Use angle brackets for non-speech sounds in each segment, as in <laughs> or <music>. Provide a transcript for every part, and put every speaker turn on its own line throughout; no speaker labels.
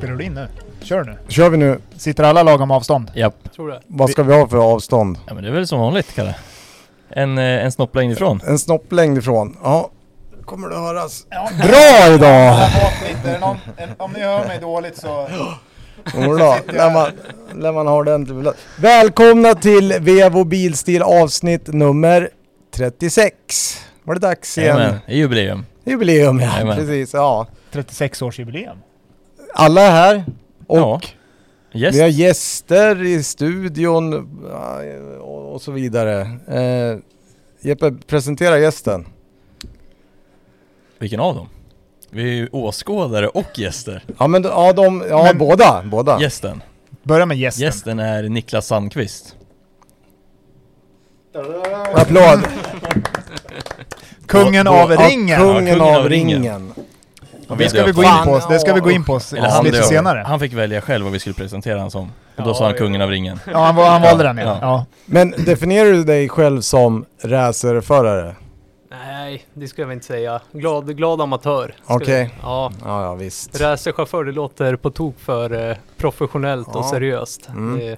du in nu? Kör nu.
Kör vi nu.
Sitter alla lagom avstånd?
Japp.
Tror det.
Vad ska vi ha för avstånd?
Ja men det är väl som vanligt Kalle. En, eh, en snopplängd ifrån.
En snopplängd ifrån. Ja. Kommer det höras.
Ja.
Bra idag!
om ni hör mig dåligt så...
Jodå, när man, när man har den. till- Välkomna till Vevo Bilstil avsnitt nummer 36. Var det dags igen?
Jajamän, det är jubileum.
Jubileum ja,
Jajamän.
precis. Ja.
36-årsjubileum.
Alla är här. Och
Ja, Yes.
vi har gäster i studion ja, och och så vidare. Eh, Jeppe, presentera gästen.
Vilken av dem? Vi är ju åskådare och gäster.
Ja men ja, de, ja
Men-
båda, båda.
Gästen.
Börja med gästen.
Gästen är Niklas Sandqvist.
Applåd.
Kungen
Då- då-
av
Ja,
ringen!
Kungen,
Ja, kungen
av,
av
ringen.
ringen.
Det ska vi gå in
Fan,
på, det ska vi gå in på s-
Eller han,
lite
döv.
senare.
han fick välja själv vad vi skulle presentera honom som. Och då
Ja,
sa han
ja.
kungen av ringen.
Ja, han, val- han valde den ja.
Ja.
ja.
Men definierar du dig själv som racerförare?
Nej, det skulle jag väl inte säga. Glad, glad amatör. skulle-
Okej.
Ja.
Ja, ja visst.
Racerchaufför, det låter på tok för eh, professionellt och
Ja.
seriöst.
Mm.
Det,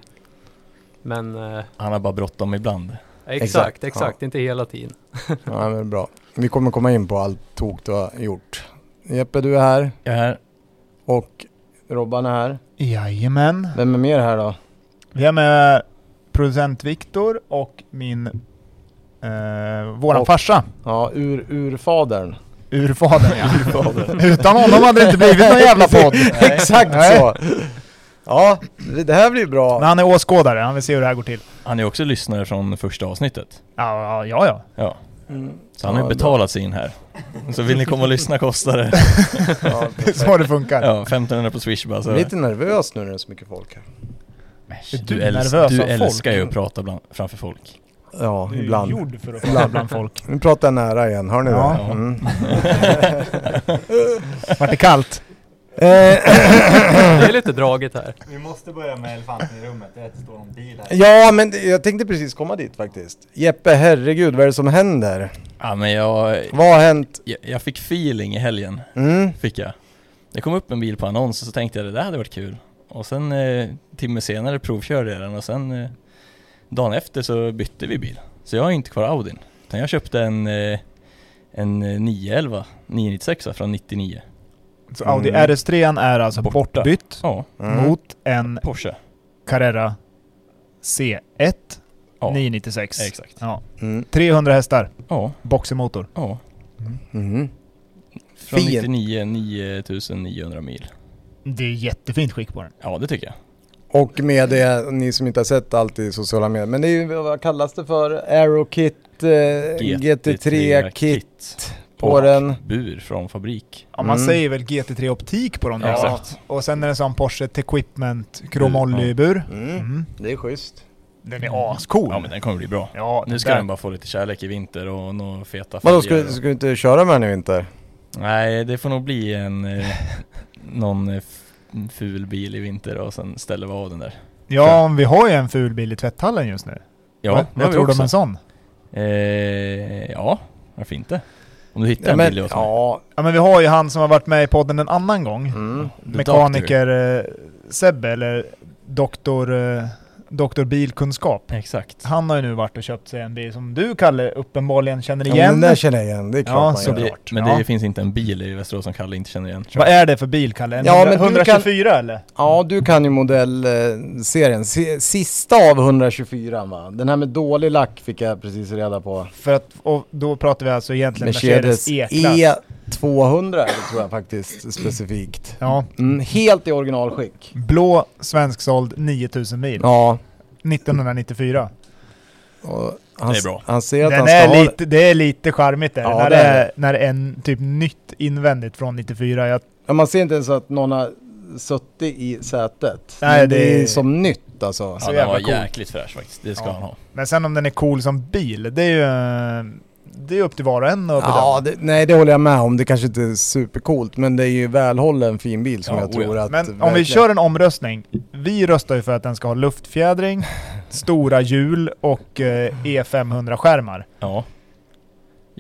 men eh,
Han har bara bråttom ibland.
Exakt,
exakt, exakt, inte
<coughs>
hela tiden.
Ja, men bra. Vi kommer komma in på allt tok du har gjort. Jeppe, du är här
Jag är här.
och Robban är här.
Jajamän.
Vem är mer här då?
Vi har med producent Viktor och min... Eh, våran
Och-
farsa.
Ja, ur, urfadern.
Urfadern ja. Utan honom hade det inte blivit någon jävla
<laughs>
podd.
Exakt
Nej.
så! Ja, det det här blir bra.
Men han är åskådare, han vill se hur det här går till.
Han är också lyssnare från första avsnittet.
Ja, ja, ja. ja.
Ja.
Mm.
Så han har
Ja,
ju
bra.
betalat sig in här. Så vill ni komma och lyssna kostar det.
Ja,
Det är <laughs> så det funkar.
Ja, 1500 på swish bara. Så.
Lite nervös nu när det är så mycket folk här.
Är
Du,
du
äls-
nervös
du
av folk?
älskar ju att prata bland, framför folk.
Ja,
Du är
ibland.
gjord för att prata bland folk.
Nu pratar jag nära igen, hör ni
Ja.
det?
<laughs>
Mm.
<laughs> Vart det kallt?
Eh, <clears throat>
Det är lite draget här.
Vi måste börja med elefanten i rummet, det är att det står någon bil här.
ja, men det- jag tänkte precis komma dit faktiskt. Jeppe, herregud, vad är det som händer?
Ja, men jag,
Vad har hänt?
jag, jag fick feeling i helgen,
Mm.
fick jag. Det kom upp en bil på annons och så tänkte jag det där hade varit kul. Och sen eh, timme senare provkörde jag den och sen eh, dagen efter så bytte vi bil. Så jag har inte kvar Audin. Utan jag köpte en, eh, en eh, 911, 996 från 99.
Så Audi
Mm.
RS3 är alltså
Borta.
bortbytt
Ja,
Mm.
mot en
Porsche.
Carrera C1
Ja,
996.
exakt.
Ja.
Mm.
300 hästar,
Ja,
boxermotor.
ja.
Mm.
Från
Fin.
99, 9900 mil.
Det är jättefint skick på den.
Ja, det tycker jag.
Och med det, ni som inte har sett allt i sociala medier, men det är ju, vad kallas det för? Aerokit, eh, GT3-kit på
och
den.
Bur från fabrik.
Ja, man
Mm.
säger väl GT3 optik på dem
Ja,
där.
exakt.
Och sen är det en sån Porsche Equipment Chromoly-bur.
Mm.
Mm.
Det är schysst.
Den är ascool.
Mm. Ja men den kommer bli bra.
Ja,
Nu ska
där.
den bara få lite kärlek i vinter och några feta
Vadå,
färger
ska, ska du inte köra med den i vinter?
och- Nej, det får nog bli en... Eh, <laughs> någon eh, f- ful bil i vinter och sen ställer vi av den där.
Ja, men vi har ju en ful bil i tvätthallen just nu.
Ja,
Va?
det har
Vad
vi
tror du om
också.
en sån?
Eh, ja, varför inte? Om du hittar
Ja,
en
men,
bil åt mig.
ja.
Ja men vi har ju han som har varit med i podden en annan gång.
Mm.
The
Mekaniker eh, Sebbe, eller doktor, eh, doktor Bilkunskap.
Doctor. Exakt.
Han har ju nu varit och köpt sig en bil som du Kalle uppenbarligen känner
ja men den
igen.
där känner jag igen, det är klart
Ja,
man
så
gör.
blir-
Det,
Såklart,
men
ja.
det finns inte en bil i Västerås som Kalle inte känner igen.
Vad är det för bil Kalle? En
Ja,
hundra-
men du
124 eller?
Ja, du kan ju modellserien. Si- Sista av 124 va? Den här med dålig lack fick jag precis reda på.
För att, och då pratar vi alltså egentligen Mercedes, E-klass.
E- E200 är det tror jag faktiskt specifikt.
Ja,
Mm, helt i originalskick.
blå, svensksåld, 9000 mil.
Ja.
1994.
och Han,
Det är bra.
Han ser att
Den
han ska
är
ha
lite, det är lite charmigt där.
Ja,
när,
det
det
är
är, när det är en, typ nytt invändigt från 94. Jag,
ja, Man ser inte ens att någon har suttit i sätet.
Nej,
Men
det-
är som nytt alltså.
så
Ja, den
jävla
var
cool.
jäkligt fräsch faktiskt. Det ska
Ja.
han ha.
men sen om den är cool som bil, det är ju... eh, Det är upp till var och en att bedöma.
Ja, det, nej det håller jag med om. Det kanske inte är supercoolt men det är ju välhållen fin bil som
Ja,
jag
oja.
tror att...
Men om vi
verkligen-
kör en omröstning. Vi röstar ju för att den ska ha
<laughs>
luftfjädring, stora hjul och eh, E500-skärmar.
Ja.
Så-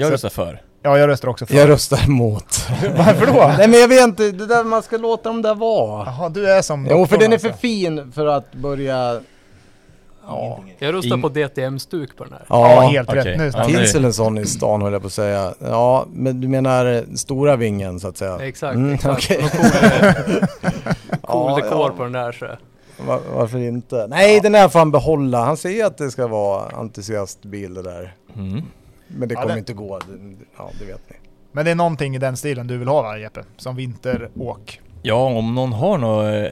Jag röstar för.
Ja, jag röstar också för.
Jag röstar emot.
<laughs> Varför då?
Nej men jag vet inte, det där man ska låta dem där vara.
Jaha, du är som
Jo, för
doktorn
den är för
alltså.
fin för att börja... Ja.
Jag röstar
In-
på DTM-stuk på den här.
Ja, helt
okej.
rätt. Nu
Ja,
snackar
det-
Finns väl en sån i stan höll jag på att säga. Ja, men du menar eh, stora vingen så att säga?
Exakt,
Mm,
exakt.
okej. <laughs>
Och Cool, cool
Ja,
dekor
ja.
på den där så.
Va- varför inte? Nej, den där får han behålla. Han säger att det ska vara entusiastbil det där.
Mm.
Men det
Ja,
kommer
det-
inte gå. Det- Ja, det vet ni.
Men det är någonting i den stilen du vill ha va Jeppe? Som vinteråk?
Ja, om någon har någon,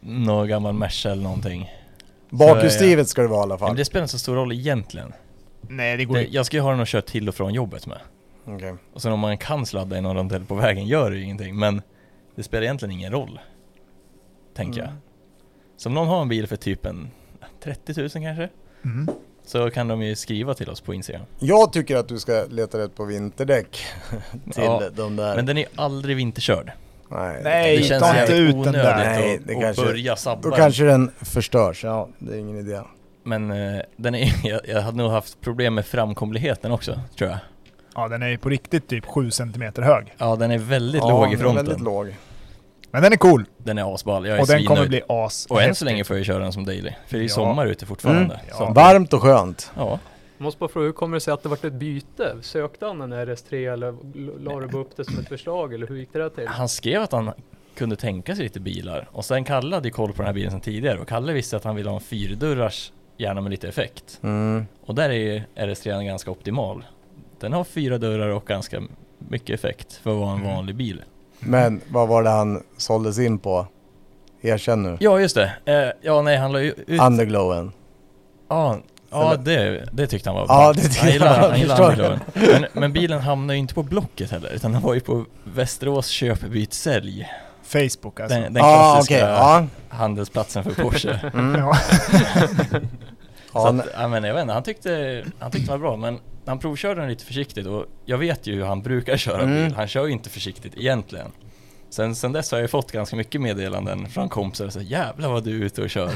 någon gammal Merca eller någonting.
Bakhjulsdrivet ska det vara i alla
Men
fall.
det spelar inte så stor roll egentligen.
Nej det går
Det,
inte.
jag ska ju ha den att köra till och från jobbet med.
Okej.
Och sen om man kan sladda i någon rondell på vägen gör det ju ingenting, men det spelar egentligen ingen roll. Tänker
Mm.
jag. Så om någon har en bil för typ en 30 000 kanske,
Mm.
så kan de ju skriva till oss på Instagram.
Jag tycker att du ska leta rätt på vinterdäck till
Ja,
de där.
Men den är ju aldrig vinterkörd.
Nej,
Nej,
det känns
ta inte
jävligt
ut den där.
onödigt
Nej,
att-
det
att
kanske-
börja sabba
Då
den.
kanske den förstörs. Ja, det är ingen idé.
Men eh, den är, <laughs> jag, jag hade nog haft problem med framkomligheten också, tror jag.
Ja den är ju på riktigt typ 7 cm hög.
Ja, den är väldigt
ja,
låg
den
i
är
fronten.
Väldigt låg.
Men den är cool
Den är asball, jag är
och den kommer
svinnöjd.
bli as.
Och än så länge får jag köra den som daily, för det är ju
Ja.
sommar ute fortfarande.
Mm.
Så,
Ja.
Varmt och skönt.
ja.
Måste bara fråga, hur kommer det sig att det vart ett byte? Sökte han en RS3 eller la du bara upp det som ett förslag eller hur gick det där till?
Han skrev att han kunde tänka sig lite bilar och sen Kalle hade ju koll på den här bilen sedan tidigare och Kalle visste att han ville ha en fyrdörrars, gärna med lite effekt.
Mm.
Och där är ju RS3 ganska optimal. Den har fyra dörrar och ganska mycket effekt för att vara en vanlig bil.
Men vad var det han såldes in på? Erkänn nu.
Ja just det, eh, ja nej han la ju ut...
Underglowen.
ja, ja
Eller-
det, det tyckte han var
Ja, det tyckte
han gillar,
han.
han gillar
Förstår.
underglowen. men, men bilen hamnade ju inte på Blocket heller utan den var ju på Västerås köp, byt, sälj.
Facebook alltså.
Den, den
Ja,
klassiska
Ah, okej. Ja.
handelsplatsen
<laughs>
för Porsche. <laughs>
<laughs>
Mm.
Ja.
Ja,
så att, ja, men jag vet inte, han tyckte, han tyckte det var bra men han provkörde den lite försiktigt och jag vet ju hur han brukar köra
Mm.
bil. Han kör ju inte försiktigt egentligen. Sen, sen dess har jag fått ganska mycket meddelanden från kompisar så jävlar vad du är ute och kör.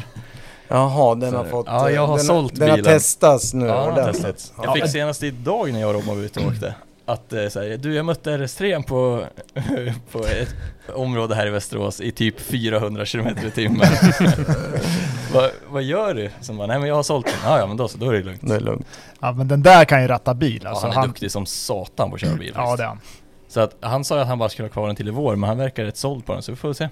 Jaha, den
Så-
har fått...
ja, jag har
den,
sålt
Den har
bilen.
testats nu
Ja, den har
ordentligt.
testats. Jag fick senast idag när jag och Robin var ute och åkte att eh, så här, du jag mötte RS3 på, <laughs> på ett område här i Västerås i typ 400 km i
<laughs>
timmen. vad, vad gör du? Som bara, nej men jag har sålt den. Ja, ja men då så, då är det lugnt.
Det är lugnt.
ja men den där kan ju ratta bil alltså.
ja, han är duktig som satan på att köra bil
Ja
faktiskt.
det är han.
Så att han sa ju att han bara skulle ha kvar den till i vår, men han verkar rätt såld på den så vi får se.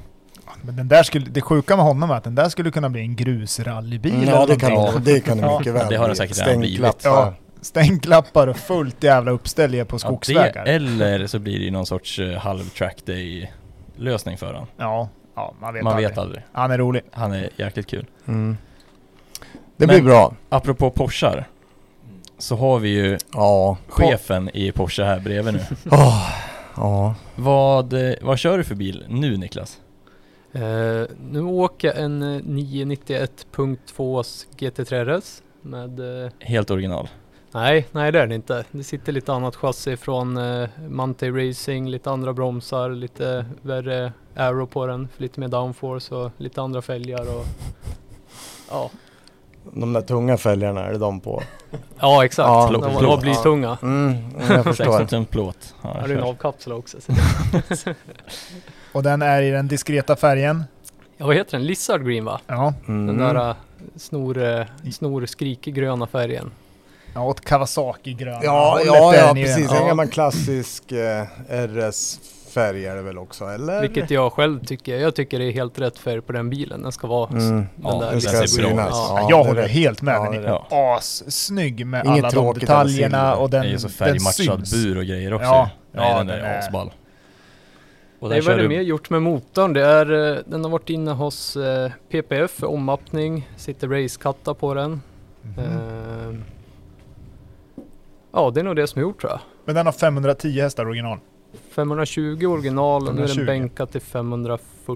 Men den där skulle, det sjuka med honom är att den där skulle kunna bli en grusrallybil
Mm,
eller
ja, det kan
någonting.
det, det kan det mycket väl
det har den
bli.
säkert redan blivit.
Stängklappar.
Ja. Stängklappar och fullt jävla uppställ på skogsvägar.
det, eller så blir det ju någon sorts eh, halv track day lösning för honom.
Ja, ja, man vet
Man
aldrig.
vet aldrig.
Han är rolig.
Han är jäkligt kul.
Mm. Det
Men-
blir bra.
Apropå Porschar så har vi ju
Ja.
chefen i Porsche här
<laughs>
bredvid nu.
Åh, ja.
Vad, eh, vad kör du för bil nu Niklas?
Eh, nu åker jag en eh, 991.2 GT3 RS med eh,
Helt original.
Nej, nej det är det inte. Det sitter lite annat chassi från eh, Mante Racing, lite andra bromsar, lite värre aero på den, för lite mer downforce och lite andra fälgar och ja,
De där tunga fälgarna, är det de på?
ja exakt.
Ja,
de,
plåt.
de har blivit tunga.
Mm,
<laughs>
jag
16
förstår.
tum plåt. Ja, jag
Ja, det är en
kör.
avkapsel också. Så.
Och den är i den diskreta färgen.
Ja, vad heter den? Lizard Green va?
Ja,
Mm.
Den där eh, snor, eh, snorskrikigröna färgen.
ja åt Kawasaki-gröna
Ja,
hållet
ja,
är
ja
den ju.
precis.
Ja.
En gammal klassisk eh, RS-färg är det väl också, eller?
Vilket jag själv tycker, jag tycker det är helt rätt färg på den bilen. Den ska vara
Mm.
Ja,
den där
Det
ser
ska
liksom.
bra ut.
synas.
Ja,
jag
det är
håller
rätt.
helt med.
Ja,
den
det
är
är
assnygg med
Inget
alla de
tråkigt alls,
detaljerna
silver.
och den,
det är ju så
den
färgmatchad
syns.
bur och grejer också.
Ja,
Nej,
ja,
den där
den
är
är-
asball. Och
Nej,
där
vad
kör
är det
du...
mer gjort med motorn? Det är, eh, den har varit inne hos eh, PPF för ommappning, sitter racekattar på den.
Mm.
Eh, ja, det är nog det som är gjort tror jag.
Men den har 510 hästar original.
520 original och nu är
520.
den bänkad till 540.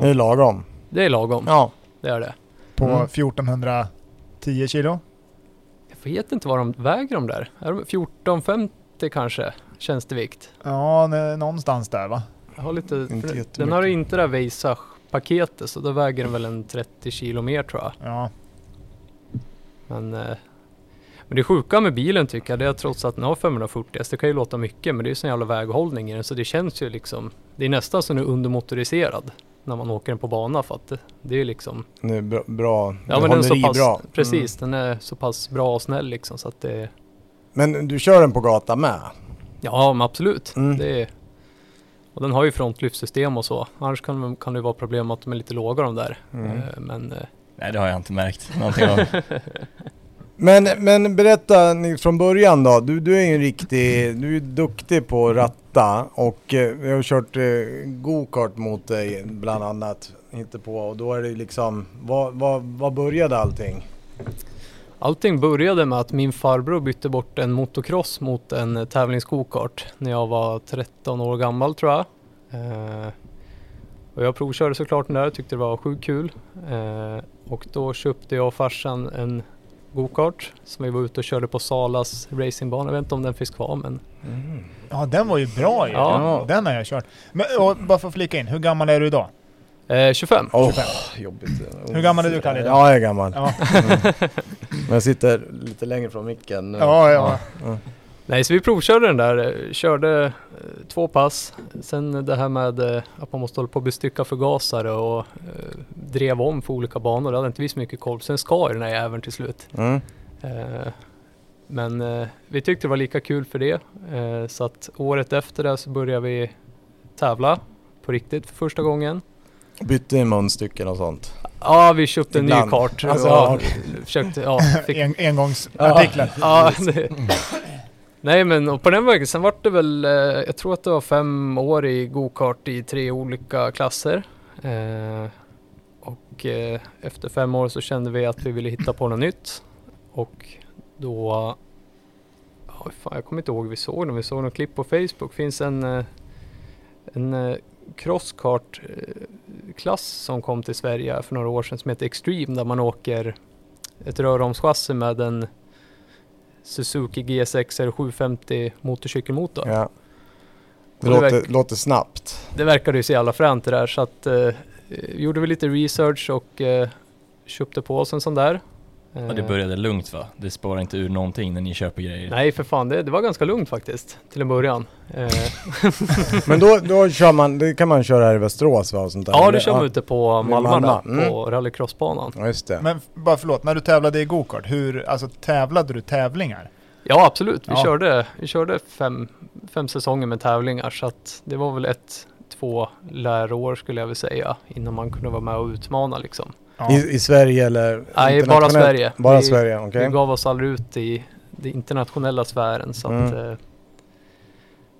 Det är lagom.
Det är lagom,
Ja.
det är det.
På
Mm.
1410 kilo.
Jag vet inte vad de väger de där. Är de 1450 kanske, tjänstevikt?
Ja, nä- någonstans där va?
Jag har lite,
Inte
för- den
jättemycket.
har ju inte det där Veisach-paketet så då väger den väl en 30 kilo mer tror jag.
Ja.
Men eh, Men det sjuka med bilen tycker jag, det är att trots att den har 540 häst, det kan ju låta mycket, men det är ju sån jävla väghållning i den så det känns ju liksom, det är nästan som den är undermotoriserad när man åker den på bana för att det- det är ju liksom,
Den är bra, bra.
ja men
håller
den är så
i
pass,
bra. Mm.
precis, den är så pass bra och snäll liksom så att det,
Men du kör den på gata med?
ja men absolut,
Mm.
det är, och den har ju frontlyftsystem och så, annars kan, kan det ju vara problem att de är lite låga de där,
Mm.
Eh, men eh,
Nej det har jag inte märkt någonting av.
<laughs>
Men, men berätta Nils, från början då. Du, du är ju en riktig, du är duktig på att ratta och eh, vi har kört eh, go-kart mot dig bland annat. Inte på och då är det liksom, vad, vad, vad började allting?
Allting började med att min farbror bytte bort en motocross mot en eh, tävlingsgokart när jag var 13 år gammal tror jag. Eh, och jag provkörde såklart den där, tyckte det var sjukt kul. Eh, och då köpte jag och farsan en gokart som vi var ute och körde på Salas racingbana. Jag vet inte om den finns kvar men
Ja, den var ju bra ju.
Ja.
Den har jag kört. Men och, bara för att flika in, hur gammal är du idag?
eh, 25.
Åh, jobbigt.
Hur gammal är du, Kalle, idag?
Ja, jag är gammal. Mm.
Ja,
Men jag sitter lite längre från micken nu.
ja, ja.
Nej, så vi provkörde den där. eh, Körde eh, två pass. Sen det här med eh, att man måste hålla på och bestycka förgasare och eh, drev om för olika banor. Det hade inte vi så mycket koll på. Sen skar ju den här jäveln till slut.
Mm.
Eh, Men eh, vi tyckte det var lika kul för det. Eh, Så att året efter det så började vi tävla på riktigt för första gången.
Bytte i munstycken och sånt.
Ja, vi köpte en ny
Ibland.
kart.
Alltså,
ja,
okej.
försökte, ja,
<laughs>
fick
En, engångsartiklar.
<laughs> Ja, det... Nej men och på den vägen, sen vart det väl, eh, jag tror att det var fem år i gokart i tre olika klasser. Eh, och eh, efter fem år så kände vi att vi ville hitta på något nytt. Och då, ja, fan, jag kommer inte ihåg hur vi såg den, vi såg något klipp på Facebook. finns en, eh, en eh, crosskart-klass som kom till Sverige för några år sedan som heter Extreme där man åker ett röromschassi med en Suzuki GSX R750 motorcykelmotor.
Ja. Det
Och det
låter,
verk-
låter snabbt.
Det verkade ju så jävla fränt det där så att eh, gjorde vi lite research och eh, köpte på oss en sån där.
Ja, det
Eh,
började lugnt va? Det spårar inte ur någonting när ni köper grejer?
Nej för fan, det, det var ganska lugnt faktiskt till en början. Eh,
Men då, då kör man, det kan man köra här i Västerås va? Och sånt där.
ja det kör man ute på
Med Malma,
Malmarna
mm.
på rallycrossbanan.
Ja, just det.
Men f- bara förlåt, när du tävlade i gokart, hur, alltså tävlade du tävlingar?
Ja absolut, vi,
Ja.
körde, vi körde fem, fem säsonger med tävlingar så att det var väl ett, två lärår skulle jag vilja säga innan man kunde vara med och utmana liksom.
Ja.
I, I Sverige eller?
Nej, bara
internationellt?
Sverige.
Bara
Vi-
Sverige, okej.
Vi gav oss aldrig ut i den internationella sfären så att...
Mm.
Eh,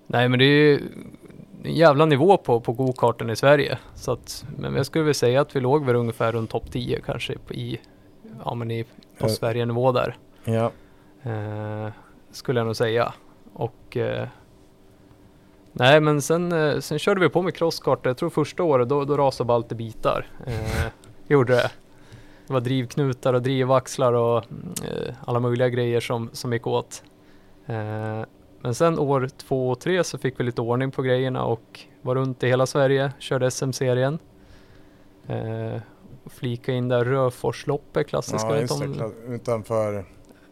nej men det är ju en jävla nivå på, på gokarten i Sverige. Så att, men jag skulle väl säga att vi låg väl ungefär runt topp 10 kanske på, i, ja, men i, på
Eh.
Sverige-nivå där.
Ja.
Eh, skulle jag nog säga. Och... Eh, nej men sen, eh, sen körde vi på med crosskart. Jag tror första året då, då rasade bara allt i bitar. Eh, <laughs> gjorde det. Det var drivknutar och drivaxlar och mm, eh, alla möjliga grejer som, som gick åt. Eh, men sen år två och tre så fick vi lite ordning på grejerna och var runt i hela Sverige, körde SM-serien. Eh, och flika in där Röforsloppet, klassiska
Ja,
vet
just det.
om
klart. Utanför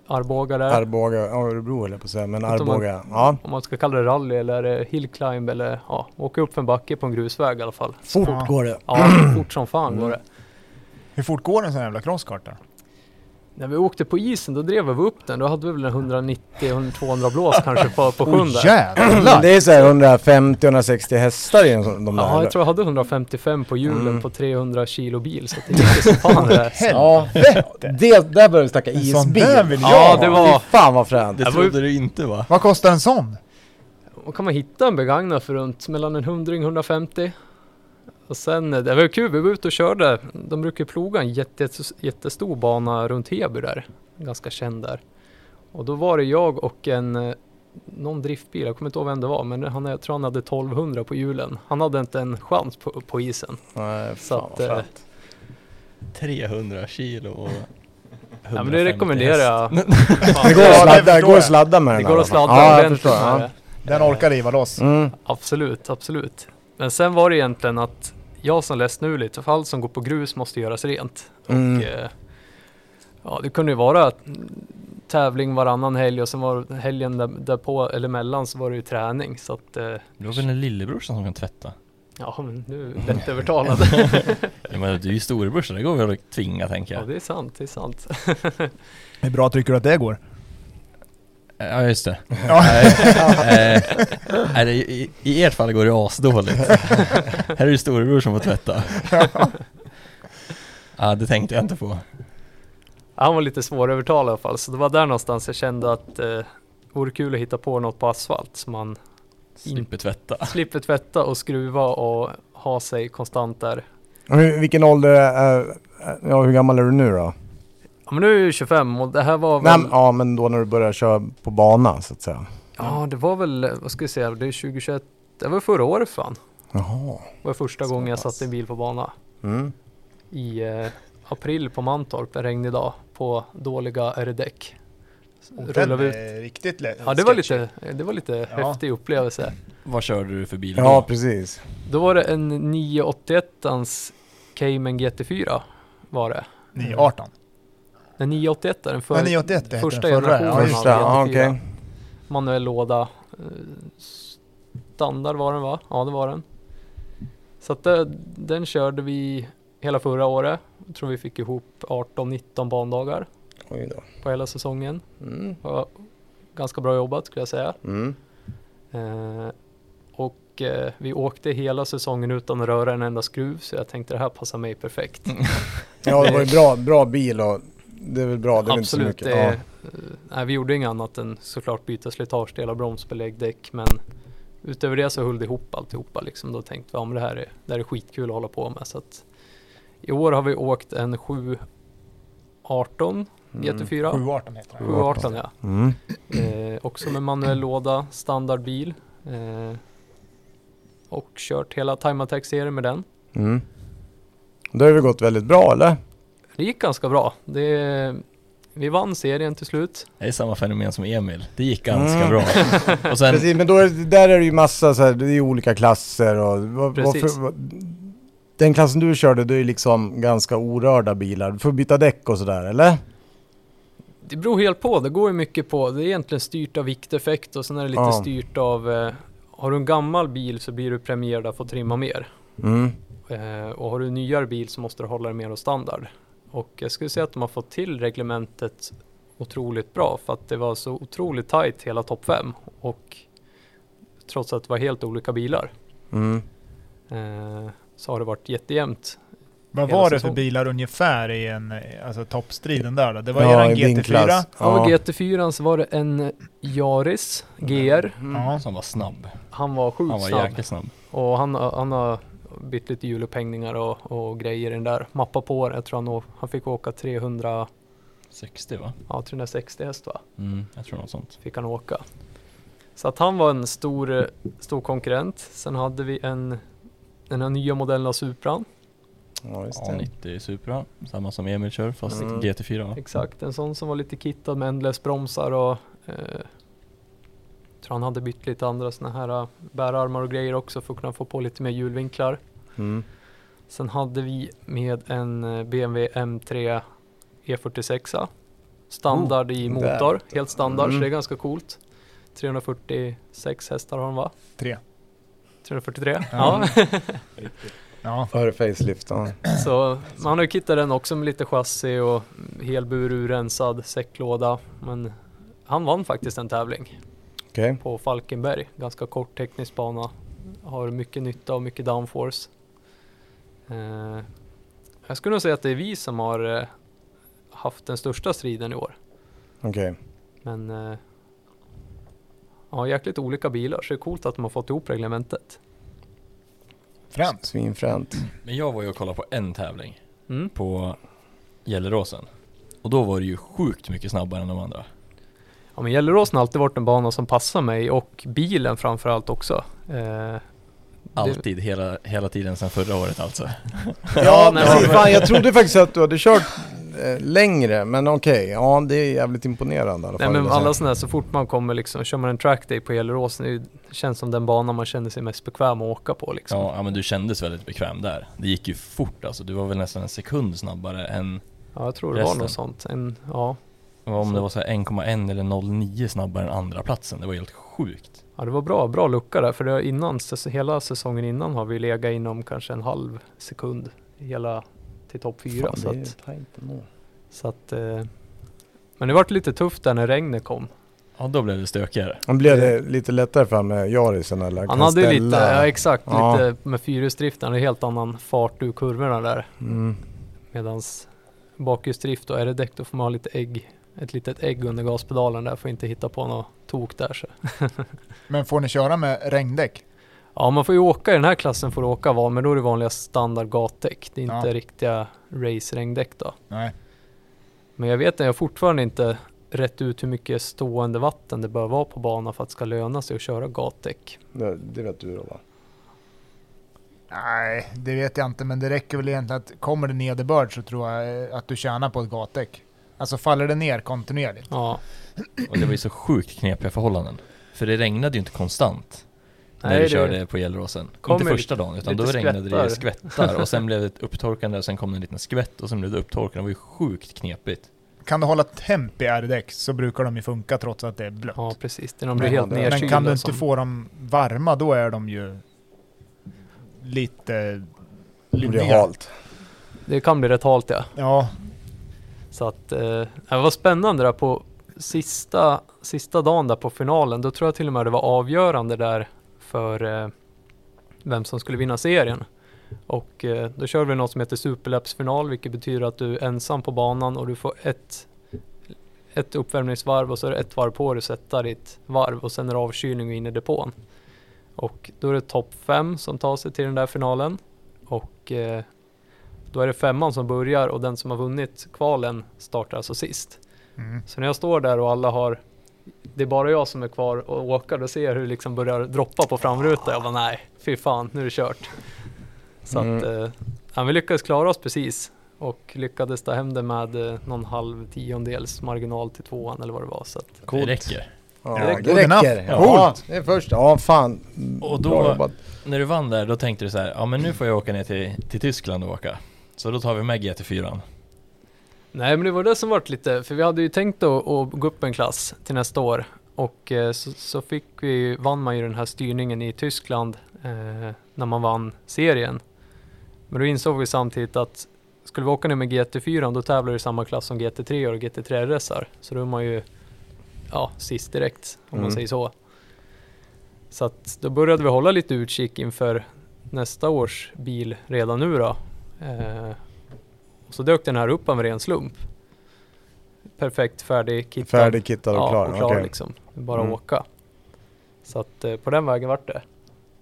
Arboga där.
Arboga, ja, Örebro eller på att säga, men
Utom
Arboga. Ja.
om man ska kalla det rally eller eh, hillclimb eller ja, åka upp för en backe på en grusväg i alla fall.
Fort
Ja.
går det.
Ja, fort som fan var det.
Hur fort går en sån jävla crosskart då?
När vi åkte på isen då drev vi upp den, då hade vi väl en 190-200 blås kanske på, på sjön
Åh
där.
jävlar!
<clears throat> Men det är så här 150-160 hästar i en sån- de där.
Ja,
eller?
jag tror jag hade 155 på hjulen
Mm.
på 300 kilo bil så att det gick ju som fan det där.
Ja, det, där börjar vi snacka
En sån där
isbil.
vill jag
Ja,
ha.
det var...
Fy Fan vad fränt.
Det
Jag var ju-
trodde du inte va?
Vad kostar en sån?
Och kan man hitta en begagnad för runt mellan en hundring och 150? Och sen, eh, det var ju kul, vi var ute och körde. De brukar ju ploga en jätte, jätte- jättestor bana runt Heby där. Ganska känd där. Och då var det jag och en, eh, någon driftbil, jag kommer inte ihåg vem det var, men han, jag tror han hade 1200 på hjulen. Han hade inte en chans på, på isen.
Nej,
Så
fan
att,
vad
eh,
fränt.
300 kilo och...
Ja, men det rekommenderar jag.
<laughs> Det går
Ja, det
att sladda, det
förstår
går att
jag.
sladda med den
Det
i
går
alla fall.
att sladda
ja, jag
ordentligt
förstår,
med
ja.
det.
Den orkar riva loss.
Mm.
Absolut, absolut. Men sen var det egentligen att jag som läst nu lite, för allt som går på grus måste göras rent.
Mm.
Och, eh, ja, det kunde ju vara tävling varannan helg och sen var helgen där, därpå eller mellan så var det ju träning så att eh,
Det var väl en lillebrorsan som kan tvätta?
ja men nu är jag lättövertalad.
<laughs> ja, men du är ju storebror så det går väl att tvinga tänker
ja
jag.
det är sant, det är sant.
Hur bra tycker du att det går?
Ja just <laughs> det.
Ja.
Nej, eh, nej, det- i, I ert fall går det <laughs> asdåligt. Här är det storebror som får <laughs> tvätta. Ja det tänkte jag inte på.
Han var lite svårövertalad i alla fall så det var där någonstans jag kände att eh, vore kul att hitta på något på asfalt som man
Slipper tvätta.
slipper tvätta och skruva och ha sig konstant där.
Hur, vilken ålder är, ja hur gammal är du nu då?
Ja men nu är jag ju 25 och det här var
Nej,
väl,
men- ja men då när du börjar köra på bana så att säga.
ja det var väl, vad ska jag säga, det är 2021, det var förra året fan.
Jaha.
Det var första
Så
gången jag
pass.
satte en bil på bana.
Mm.
i eh, april på Mantorp, en regnig dag, på dåliga R-däck. Rullade vi ut.
riktigt lätt.
Ja, det var lite, det var lite
Ja.
häftig upplevelse.
Vad körde du för bil
Ja
då?
precis.
Då var det en 981ans Cayman GT4 var det.
918.
Den 981 är den
Nej,
för
981 hette den
första
förra, ja,
generationen
just
Första, ja
av
okej.
GT4. Manuell låda. eh, Standard var den va? Ja det var den. Så att det, den körde vi hela förra året. Jag tror vi fick ihop 18-19 bandagar
Oj då.
på hela säsongen.
Mm.
var ganska bra jobbat skulle jag säga.
Mm.
Eh, och eh, vi åkte hela säsongen utan att röra en enda skruv så jag tänkte det här passar mig perfekt.
Ja det var ju bra, bra bil och det är väl bra, det är väl inte så
Absolut,
mycket.
det,
Ja.
eh, nej, vi gjorde inget annat än såklart byta slitagedelar, bromsbelägg, däck men utöver det så höll det ihop alltihopa liksom. Då tänkte vi om det här är, det här är skitkul att hålla på med. Så att, I år har vi åkt en 718 GT4.
718 heter den.
718 ja.
Mm.
Eh, också med manuell låda, standardbil. Eh, och kört hela Time Attack-serien med den.
Mm. Det har ju gått väldigt bra eller?
Det gick ganska bra. Det, vi vann serien till slut.
Det är samma fenomen som Emil. Det gick ganska
Mm. <laughs>
bra. Och sen,
Precis, men då är, det- där är det ju massa så här, det är ju olika klasser och vad,
Precis.
varför, vad, Den klassen du körde, det är ju liksom ganska orörda bilar. Du får byta däck och sådär eller?
Det beror helt på. Det går ju mycket på. Det är egentligen styrt av vikteffekt och sen är det lite
Ja.
styrt av eh, har du en gammal bil så blir du premierad att få trimma mer.
Mm.
Eh, och har du en nyare bil så måste du hålla dig mer hos standard. Och jag skulle säga att de har fått till reglementet otroligt bra för att det var så otroligt tajt hela topp 5 och trots att det var helt olika bilar
Mm.
eh, så har det varit jättejämnt.
Vad
Hela
var det för
säsong.
bilar ungefär i en, eh, alltså toppstriden där då? Det var
Ja,
eran
i din
GT4.
klass.
Av
Ja.
GT4 så var det en Yaris GR.
Ja.
som var snabb.
Han var sjukt
Han var
snabb
jäkligt snabb.
och han, har- han har bytt lite hjulupphängningar och, och grejer i den där. Mappa på den. Jag tror han, å- han fick åka 300,
60 va?
ja, 360 häst va?
Mm, jag tror något sånt.
fick han åka. Så att han var en stor, eh, stor konkurrent. Sen hade vi en, den här nya modellen av Supran.
Ja, just
Ja,
det.
90 Supra. Samma som Emil kör fast
Mm.
GT4 va?
Exakt, en sån som var lite kittad med endless bromsar och eh, tror han hade bytt lite andra såna här eh, bärarmar och grejer också för att kunna få på lite mer hjulvinklar.
Mm.
Sen hade vi med en eh, BMW M3 E46. E Standard i
Oh, där.
motor, helt standard så
Mm.
det är ganska coolt. 346 hästar har han va?
Tre.
343?
Ja.
ja. <laughs>
Ja.
Före facelift, ja.
Så man har ju kittat den också med lite chassi och helbur urensad säcklåda. Men han vann faktiskt en tävling
Okej.
på Falkenberg. Ganska kort teknisk bana. Har mycket nytta och mycket downforce. Eh, jag skulle nog säga att det är vi som har eh, haft den största striden i år.
Okej.
Men eh, ja, jäkligt olika bilar så det är coolt att de har fått ihop reglementet.
Fränt.
Svinfränt.
<laughs>
Men jag var ju och kollade på en tävling
Mm.
på Gelleråsen. Och då var det ju sjukt mycket snabbare än de andra.
Ja, men Gelleråsen har alltid varit en bana som passar mig och bilen framför allt också. Eh,
Alltid, hela, hela tiden sedan förra året alltså.
Ja,
nej,
precis.
men-
Fan, jag trodde faktiskt att du hade kört eh, längre, men okej. Ja, det är jävligt imponerande i alla
Nej
fall.
men
vill jag
alla
säga.
sådana här, så fort man kommer liksom, kör man en trackday på Gelleråsen, det är ju- det känns som den banan man känner sig mest bekväm att åka på liksom.
Ja, ja men du kändes väldigt bekväm där. Det gick ju fort alltså. Du var väl nästan en sekund snabbare än...
Ja, jag tror det var
Resten.
något sånt. En, ja.
Om det var så här 1,1 eller 0,9 snabbare än andra platsen. Det var helt sjukt.
Ja, det var bra, bra lucka där, för det var innan, säs- hela säsongen innan har vi legat inom kanske en halv sekund hela till topp fyra. så att, så att, eh, men det vart lite tufft där när regnet kom.
Ja, då blev det stökigare.
Han blev det lite lättare för med Jarisen eller?
Han
Kan
hade ju lite,
ställa-
ja, exakt,
Ja.
lite med fyrhjulsdriften, en helt annan fart ur kurvorna där.
Mm.
Medans bakhjulsdrift och är det däck då får man ha lite ägg, ett litet ägg under gaspedalen där, får inte hitta på något tok där. Så.
Men får ni köra med regndäck?
Ja, man får ju åka i den här klassen får du åka van, men då är det vanliga standard gatdäck. Det är inte
Ja.
riktiga race-regndäck då.
Nej.
Men jag vet att jag har fortfarande inte rätt ut hur mycket stående vatten det bör vara på banan för att det ska löna sig att köra gatdäck.
Det, det vet du då va?
Nej, det vet jag inte, men det räcker väl egentligen att kommer det nederbörd så tror jag eh, att du tjänar på ett gatdäck. Alltså faller det ner kontinuerligt.
Ja.
Och det var ju så sjukt knepiga förhållanden. För det regnade ju inte konstant när
Nej,
vi
det-
körde på elrosen.
kom
Inte
ju
första dagen, utan då
lite
regnade det i skvättar. Och sen <laughs> blev det ett upptorkande och sen kom det en liten skvätt och sen blev det upptorkande. Det var ju sjukt knepigt.
Kan du hålla temp i R-däck så brukar de ju funka trots att det är blött.
ja, precis. Det är de blir
Men-
helt
men
nedkylda.
Men kan du inte
som-
få dem varma, då är de ju lite
Det blir
lynniga.
halt.
Det kan bli rätt halt ja.
Ja,
Så att, eh, det var spännande där på sista, sista dagen där på finalen. Då tror jag till och med det var avgörande där för eh, vem som skulle vinna serien. Och eh, då körde vi något som heter superlappsfinal, vilket betyder att du är ensam på banan och du får ett, ett uppvärmningsvarv och så är det ett varv på dig att sätta ditt varv och sen är det avkylning och in i depån. Och då är det topp fem som tar sig till den där finalen. Och eh, då är det femman som börjar och den som har vunnit kvalen startar alltså sist.
mm.
Så när jag står där och alla har, det är bara jag som är kvar och åker, då ser jag hur det liksom börjar droppa på framrutan. Jag bara nej, fy fan, nu är det kört. Så att,
Mm.
eh, ja, vi lyckades klara oss precis och lyckades ta hem det med eh, någon halv tiondels marginal till tvåan eller vad det var. Så att,
Det räcker.
Ja,
Det
det
räcker.
räcker.
Good enough.
Ja, det är först. Ja, fan.
Och då-
Bra jobbat.
När du vann där, då tänkte du så här, ja men nu får jag åka ner till, till Tyskland och åka. Så då tar vi med GT4.
Nej, men det var det som vart lite, för vi hade ju tänkt att, att gå upp en klass till nästa år och eh, så, så fick vi, ju- vann man ju den här styrningen i Tyskland eh, när man vann serien. Men då insåg vi samtidigt att skulle vi åka ner med GT4 då tävlar du i samma klass som GT3 och GT3 RSar, så då är man ju ja, sist direkt om man
Mm.
säger så. Så att då började vi hålla lite utkik inför nästa års bil redan nu då. Eh, och så dök den här upp av en ren slump. Perfekt färdig kittad.
Färdigkittad och
ja,
klar.
och klar
Okej.
liksom. Det är Bara
Mm.
åka. Så att eh, på den vägen vart det.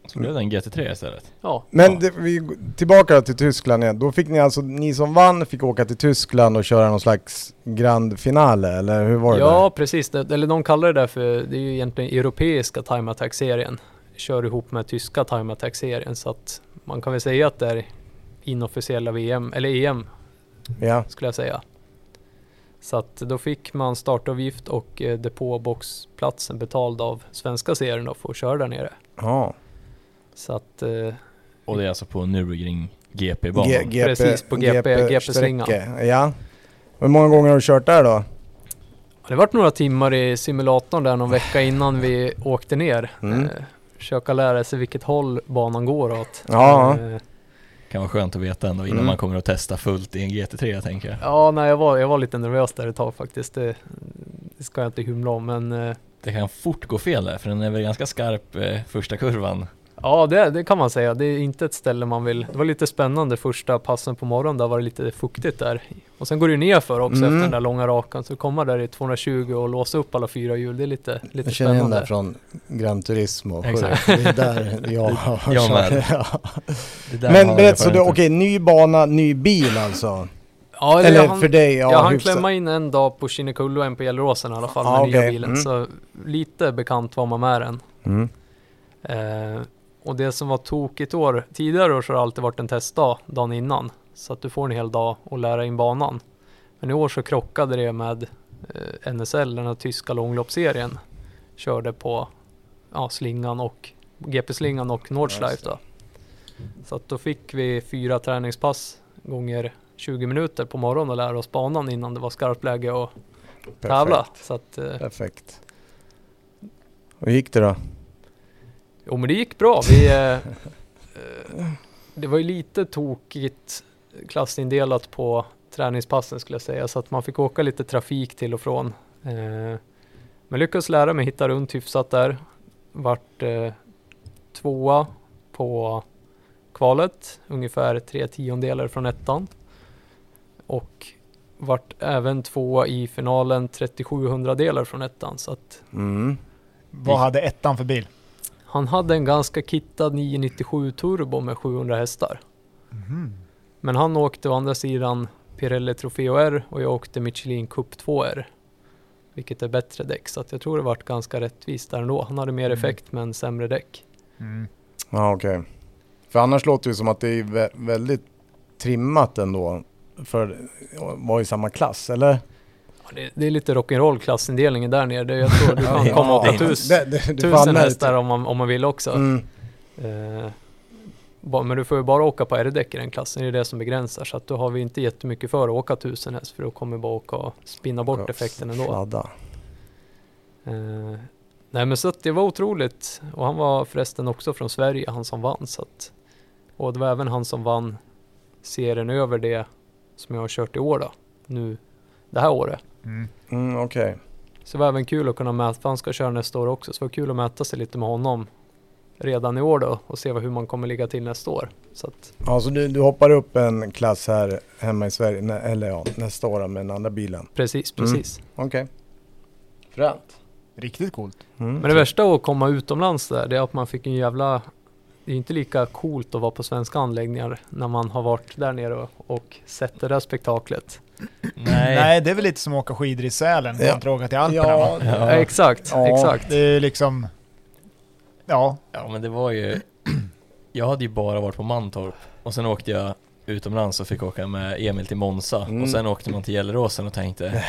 Så blev det en GT3 istället.
Ja,
Men
Ja.
det, vi går tillbaka till Tyskland igen. Då fick ni alltså, ni som vann fick åka till Tyskland och köra någon slags grand finale, eller hur var det?
ja precis. Det, eller de kallar det där för, det är ju egentligen europeiska time attack-serien. Kör ihop med tyska time attack-serien så att man kan väl säga att det är inofficiella VM, eller E EM
där? Ja.
skulle jag säga. Så att då fick man startavgift och eh, depåboxplatsen betald av svenska serien då för att köra där nere.
Ja.
Så att eh,
Och det är alltså på Nürburgring GP-banan.
G- GP
Precis, på GP GP-slingan.
sträcka. Ja. Hur många gånger har du kört där då?
det vart några timmar i simulatorn där någon vecka innan vi
<laughs>
åkte ner.
Mm.
Eh, försöka lära sig vilket håll banan går åt.
Ja.
Eh,
kan vara skönt att veta ändå innan
Mm.
man kommer att testa fullt i en GT3 tänker jag.
ja, nej jag var, jag var lite nervös där ett tag faktiskt. Det, det ska jag inte hymla om men eh,
Det kan fort gå fel där, för den är väl ganska skarp eh, första kurvan.
Ja, det, det kan man säga. Det är inte ett ställe man vill... Det var lite spännande första passen på morgonen, där var det lite fuktigt där. Och sen går det ju ner för också
Mm.
efter den där långa rakan, så komma där i 220 och låsa upp alla fyra hjul, det är lite, lite
Jag känner igen det
spännande.
här från Gran Turismo. sju.
Exakt.
Det är där <laughs> jag har
Jag med.
kört. Ja.
Det där har
Men
jag
berätta, så du,
erfarenhet
okej,
av.
ny bana, ny bil alltså?
Ja, eller,
Eller
jag, hann,
för dig? Ja,
jag hann
hyfsat.
klämma in en dag på Kinnekulle och en på Gelleråsen i alla fall, med
Ah,
nya
okej.
bilen.
Mm.
Så lite bekant var man med den.
Mm.
Eh, och det som var tokigt år, tidigare år så har det alltid varit en testdag dagen innan. Så att du får en hel dag och lära in banan. Men i år så krockade det med eh, NSL, den här tyska långloppsserien. Körde på ja, slingan och GP-slingan och Nordschleife då. Så att då fick vi fyra träningspass gånger 20 minuter på morgonen och lära oss banan innan det var skarpt läge att tävla. Så att, eh,
Perfekt. Hur gick det då?
Jo men det gick bra. Vi, eh, eh, det var ju lite tokigt klassindelat på träningspassen skulle jag säga, så att man fick åka lite trafik till och från. Eh, men lyckades lära mig hitta runt hyfsat där. Vart eh, tvåa på kvalet, ungefär tre tiondelar från ettan. Och vart även tvåa i finalen 37 hundradelar från ettan. Så att
Mm.
Vad hade ettan för bil?
han hade en ganska kittad 997 turbo med 700 hästar.
Mhm.
Men han åkte å andra sidan Pirelli Trofeo R och jag åkte Michelin Cup 2 R. Vilket är bättre däck, så att jag tror det vart ganska rättvist där ändå. Han hade mer
Mm.
effekt men sämre däck.
Mm.
Ja, okej. För annars låter det som att det är vä- väldigt trimmat ändå för att vara i samma klass, eller?
Ja, det, det är lite rock'n'roll klassindelningen där nere. Det, jag tror du kan komma
det
åka
är-
tus,
Det- det- det
tusen
famlar lite.
hästar om man, om man vill också.
Mm.
Eh, ba- men du får ju bara åka på R-däck i den klassen, det är det som begränsar. Så att då har vi inte jättemycket för att åka 1000 häst för då kommer vi bara åka och spinna bort effekten ändå.
Sladda.
Eh, nej men så att det var otroligt. Och han var förresten också från Sverige, han som vann. Så att, och det var även han som vann serien över det som jag har kört i år då. Nu, det här året.
Mm.
Mm, okej.
Så det var även kul att kunna mäta, för han ska köra nästa år också. Så det var kul att mäta sig lite med honom redan i år då och se vad- hur man kommer ligga till nästa år. Så att,
Ja, så du, du hoppar upp en klass här hemma i Sverige, nä, eller ja, nästa år med den andra bilen.
precis,
Mm.
precis.
Okej. Fränt.
Riktigt coolt.
Mm.
Men det värsta att komma utomlands där, det är att man fick en jävla... Det är inte lika coolt att vara på svenska anläggningar när man har varit där nere och, och sett det där spektaklet.
Nej.
Nej.
det är väl lite som att åka skidor i Sälen
Ja.
kontra åka till Alperna va?
Ja,
Ja.
Ja.
Exakt,
Ja.
exakt.
Det är liksom... Ja,
ja men det var ju... <clears throat> Jag hade ju bara varit på Mantorp och sen åkte jag utomlands och fick åka med Emil till Monza
Mm.
och sen åkte man till Gelleråsen
<laughs>
och tänkte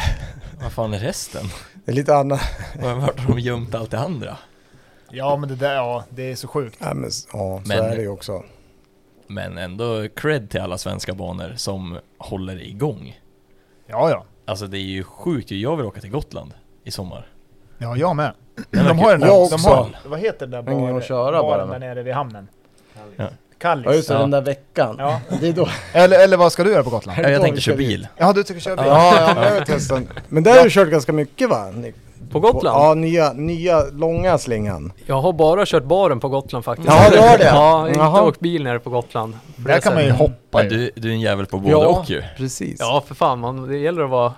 Vad fan är resten?
det är lite annat.
Var- Vart har de gömt allt det andra?
ja men det där, ja, det är så sjukt.
Ja, men, s- ja så
Men-
är det ju också.
Men ändå cred till alla svenska banor som håller igång.
Ja, ja.
Alltså det är ju sjukt ju, jag vill åka till Gotland i sommar.
Ja, jag med.
Den
De
verkar-
har den där,
Jag
de
också.
har, vad heter det där
Men
bar,
att köra
baren
bara.
där nere vid hamnen?
Ja.
Kallis.
Ja.
där veckan.
Ja.
<laughs> Det är då.
Eller, eller vad ska du göra på Gotland?
Ja, jag tänkte
vi
köra
kör bil.
bil.
Ja, du tycker köra bil?
Ja, ja, men jag har testat. Men där har du kört ganska mycket va? Ni-
På Gotland?
Ja, nya, nya långa slingan.
Jag har bara kört baren på Gotland faktiskt.
Ja, du har det?
<laughs> Ja, jag har inte
Jaha.
åkt bil nere på Gotland.
<laughs> Där kan man ju
<laughs>
hoppa
Men
ju.
du, du är en jävel på både
Ja.
och ju.
Precis. Ja,
Ja, för fan, man, det gäller att vara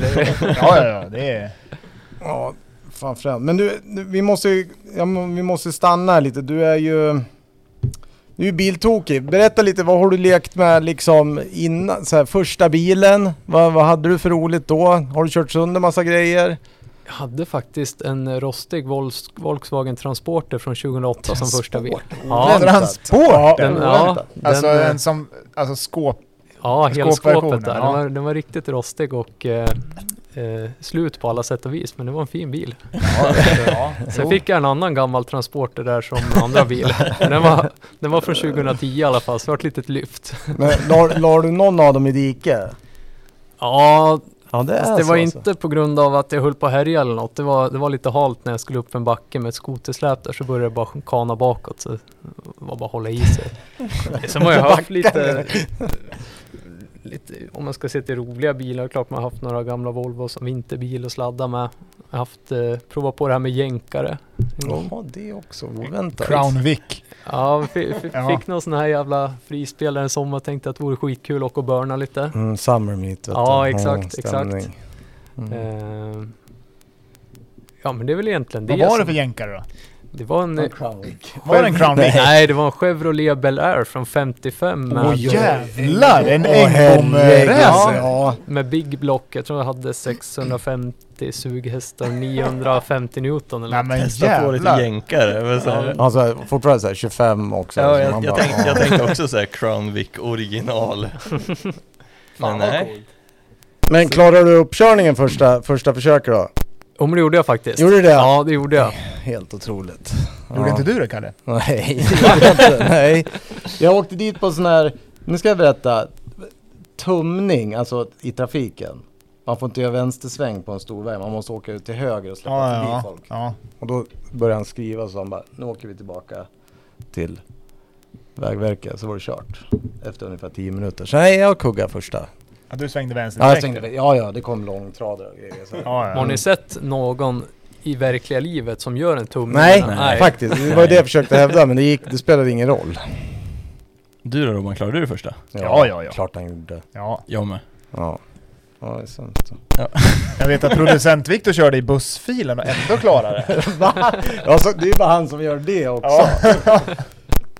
<laughs>
Det är-
Ja, ja, ja, det är...
fan fränt. Men du, nu- vi måste, ju- ja, men vi måste stanna här lite. Du är ju... Du är ju biltokig. Berätta lite, vad har du lekt med liksom innan? Så här, första bilen, vad, vad hade du för roligt då? Har du kört sönder massa grejer?
Jag hade faktiskt en rostig Volks- Volkswagen Transporter från 2008 som första bil. Ja,
Oväntat.
Transporter.
Ja,
Den-
oväntat.
Alltså
den, eh,
en som, alltså skåp...
Ja, hela
Skåpversionen,
skåpet där.
ja.
Den, var, den var riktigt rostig och eh, eh, slut på alla sätt och vis, men det var en fin bil.
Ja, ja.
Sen fick jag en annan gammal transporter där som andra bil. Men Den var, den var från 2010 i alla fall, så det var ett litet lyft.
Men la, la du någon av dem i diket?
Ja,
Ja, det
fast det alltså. var inte på grund av att jag höll på att härja eller något. Det var, det var lite halt när jag skulle upp en backe med ett skotersläp där, så började det bara kana bakåt. Så det var bara att hålla i sig. <laughs> Sen har jag haft lite, lite, om man ska se till roliga bilar, klart man har haft några gamla Volvo som vinterbil och sladda med. Jag har haft, eh, provat på det här med jänkare en gång.
Ja, det är också oväntat.
Crown Vic.
Ja, fi- fi-
Ja.
fick någon sån här jävla frispelare en sommar tänkte att det vore skitkul att åka och burna lite.
Mm, summer meet. vet
Ja,
du.
exakt,
stämning.
exakt.
Mm.
Ehm, Ja men det är väl egentligen det.
Vad var det
som-
för jänkare då?
Det var en... eh,
Var det en Crown Vic?
Nej, det var en Chevrolet Bel Air från 55 med,
Åh jävlar! En
Åh, herregud.
engomräse!
Ja.
med Big Block. Jag tror jag hade 650 sughästar, 950 Newton
Nej
eller något.
men
Testa på lite
jävlar!
jänkare. men så här-
Alltså fortfarande såhär 25 också.
Ja,
så
jag,
man
jag,
bara,
tänkte, jag
ja.
tänkte också såhär Crown Vic
<laughs>
original. Men nej.
Men klarade du uppkörningen första, första försöket då?
Jo men det gjorde jag faktiskt.
Gjorde du det?
Ja, det gjorde jag.
Helt otroligt.
Gjorde
Ja.
inte du det Kalle?
<laughs> Nej, det gjorde jag inte. Nej. Jag åkte dit på sån här, nu ska jag berätta, tumning, alltså i trafiken.
Man får inte göra vänstersväng på en stor väg, man måste åka ut till höger och släppa
Ja,
förbi
ja,
folk.
ja.
Och då började han skriva så han bara, nu åker vi tillbaka till Vägverket, så var det kört. Efter ungefär 10 minuter. Så nej, jag kuggade första.
ja. Du svängde vänster
Ja, jag
direkt.
tänkte, ja, ja, det kom långtradare och grejer. Så.
Ja,
Har
ja.
ni sett någon i verkliga livet som gör en tumme?
Nej,
innan?
faktiskt. Det var ju det jag försökte hävda, men det, gick, det spelade ingen roll.
Du då Robban, klarade du det första?
Ja, ja, ja.
Klart han gjorde.
ja.
Jag med.
Ja. Ja, det är sant.
Jag vet att producent Viktor körde i bussfilen och ändå klarade det.
<laughs> Va? Alltså, det är bara han som gör det också.
Ja.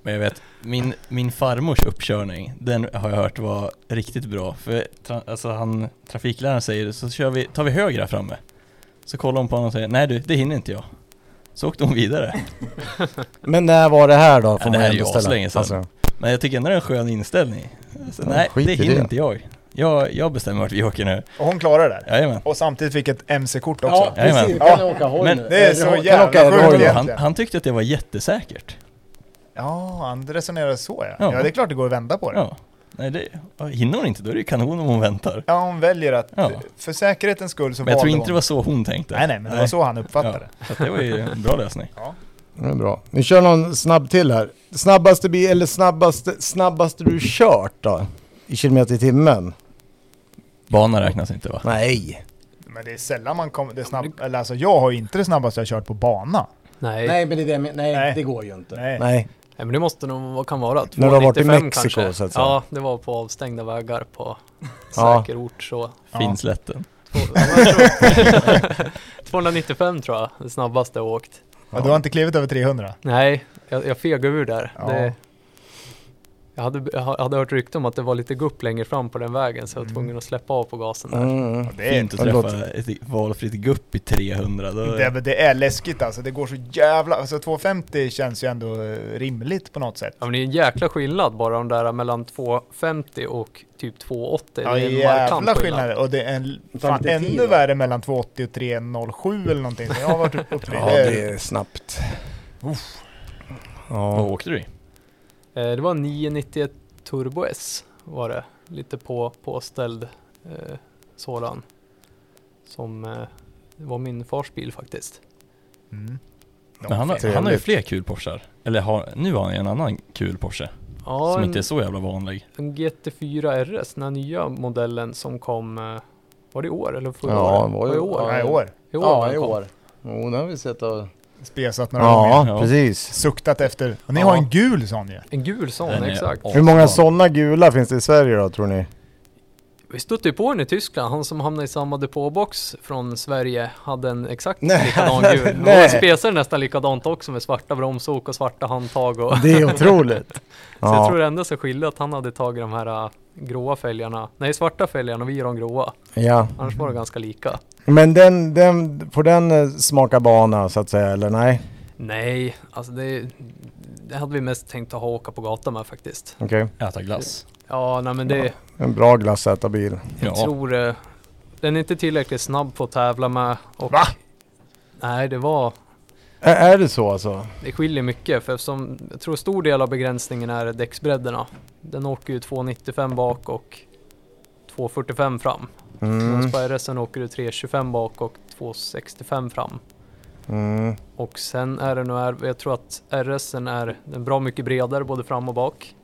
Men jag vet, min, min farmors uppkörning, den har jag hört var riktigt bra. För tra, alltså han, trafikläraren säger så kör vi, tar vi höger här framme. Så kollar hon på honom och säger nej du, det hinner inte jag. Så åkte hon vidare.
Men när var det här då?
Ja, det här är ju aslänge
Alltså.
sedan. Men jag tycker ändå det är en skön inställning. Alltså,
Ja,
nej,
skit
det
i
hinner
det.
inte jag. jag. Jag bestämmer vart vi åker nu.
Och hon klarade det där.
Jajamän.
Och samtidigt fick ett MC-kort också.
Ja, jajamän.
precis. Kan ni åka hoj
Men
nu?
Det är
Eller
så
kan ni
jävla
åka
sjukt.
hoj?
Ja.
Han, han tyckte att det var jättesäkert.
Ja, han resonerar så ja.
Ja.
ja. det är klart det går att vända på det.
Ja. Nej, det, hinner hon inte då är det ju kanon om hon väntar.
Ja, hon väljer att
Ja.
för säkerhetens skull så
Men jag
valde
tror inte
hon.
det var så hon tänkte.
Nej, nej, men det var så han
Ja.
uppfattade det.
Så att det var ju en bra lösning.
Det är bra. Vi kör någon snabb till här. Snabbaste bil, eller snabbaste, snabbaste du kört då? I kilometer i timmen?
Bana räknas inte va?
Nej.
Men det är sällan man kommer... Det är snabb, eller alltså, jag har ju inte det snabbaste jag kört på bana.
Nej. Nej.
Nej, men det, är det, jag men- nej,
Nej.
nej, det går ju inte.
Nej.
Nej.
men det måste nog, vad kan vara?
När du har varit i
295
Mexiko,
kanske.
så att säga.
Ja, det var på avstängda vägar
<laughs>
på
Ja.
säker ort så.
Ja.
Finslätten.
Två- <laughs> ja, men jag tror- <laughs> 295 tror jag, det snabbaste jag åkt.
Ja, du har inte klivit över 300?
Nej, jag, jag fegade ur där.
Ja.
Det, jag, hade, jag hade hört rykte om att det var lite gupp längre fram på den vägen så jag var
Mm.
tvungen att släppa av på gasen. där.
Mm.
Ja, det, är,
Fint att
det
träffa
låter-
ett valfritt gupp i 300. Då,
det, är- det är läskigt alltså. Det går så jävla... Alltså 250 känns ju ändå eh, rimligt på något sätt.
Ja men det är en jäkla skillnad bara de där mellan 2,50 och typ 2,80.
Ja,
det är en jävla
jävla
skillnad.
skillnader. Och det är en,
Det tar
fan,
lite tid,
ännu
va?
värre mellan 280 och 307 eller någonting. som Jag har varit uppe i.
Ja, det är snabbt.
Vad
Ja.
åkte du i?
Eh, Det var 991 Turbo S var det. Lite på, påställd eh, sådan. Som eh, det var min fars bil faktiskt.
Mm. De
Men han, har,
fin-
han har ju
trevligt.
fler kul Porschar. Eller har, nu har han ju en annan kul Porsche.
Ja,
som
en,
inte är så jävla vanlig.
en GT4 RS, den här nya modellen som kom, eh, var det i år eller förra
Ja,
året?
det var ju-
i år.
ja,
Nej, i år.
I år var
Ja,
den
i
kom.
år. Jo, det har vi sett. Och...
Spesat några gånger.
ja,
Ja.
precis.
Suktat efter. Och ni
Ja.
har en gul sån ju.
En gul sån,
Den är
exakt.
asvan.
Hur många sådana gula finns det i Sverige då tror ni?
Vi stötte ju på en i Tyskland, han som hamnade i samma depåbox från Sverige hade en exakt
<laughs>
Nej,
likadan
nej,
gul.
nej.
Och spesade nästan likadant också med svarta bromsok och svarta handtag och
Det är otroligt.
Så jag tror
Ja,
det enda som skilde att han hade tagit de här äh, gråa fälgarna, nej svarta fälgarna och vi de gråa.
ja.
Annars var det
Mm.
ganska lika.
Men den, den, får den eh, smaka bana så att säga eller nej?
Nej, alltså det, det hade vi mest tänkt att ha åka på gatan med faktiskt.
Okej.
Äta glass.
Ja, nej men det,
En bra glassätarbil.
jag
Ja.
tror eh, den är inte tillräckligt snabb på att tävla med. Och,
Va?
Nej, det var,
Ä- är det så alltså?
det skiljer mycket för som, jag tror stor del av begränsningen är däcksbredderna. Den åker ju 2,95 bak och 2,45 fram.
Mm.
På RSen åker du 3,25 bak och 2,65 fram.
Mm.
Och sen är det nog, är- jag tror att RSen är den bra mycket bredare både fram och bak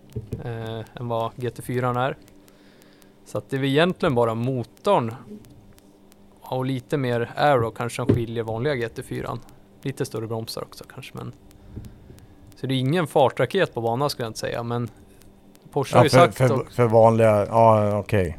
eh, än vad GT4 är. Så att det är väl egentligen bara motorn ja, och lite mer aero kanske som skiljer vanliga GT4. Lite större bromsar också kanske men. Så det är ingen fartraket på banan skulle jag inte säga men Porsche
Ja,
har ju
för,
sagt
för,
och,
för vanliga, ja okej.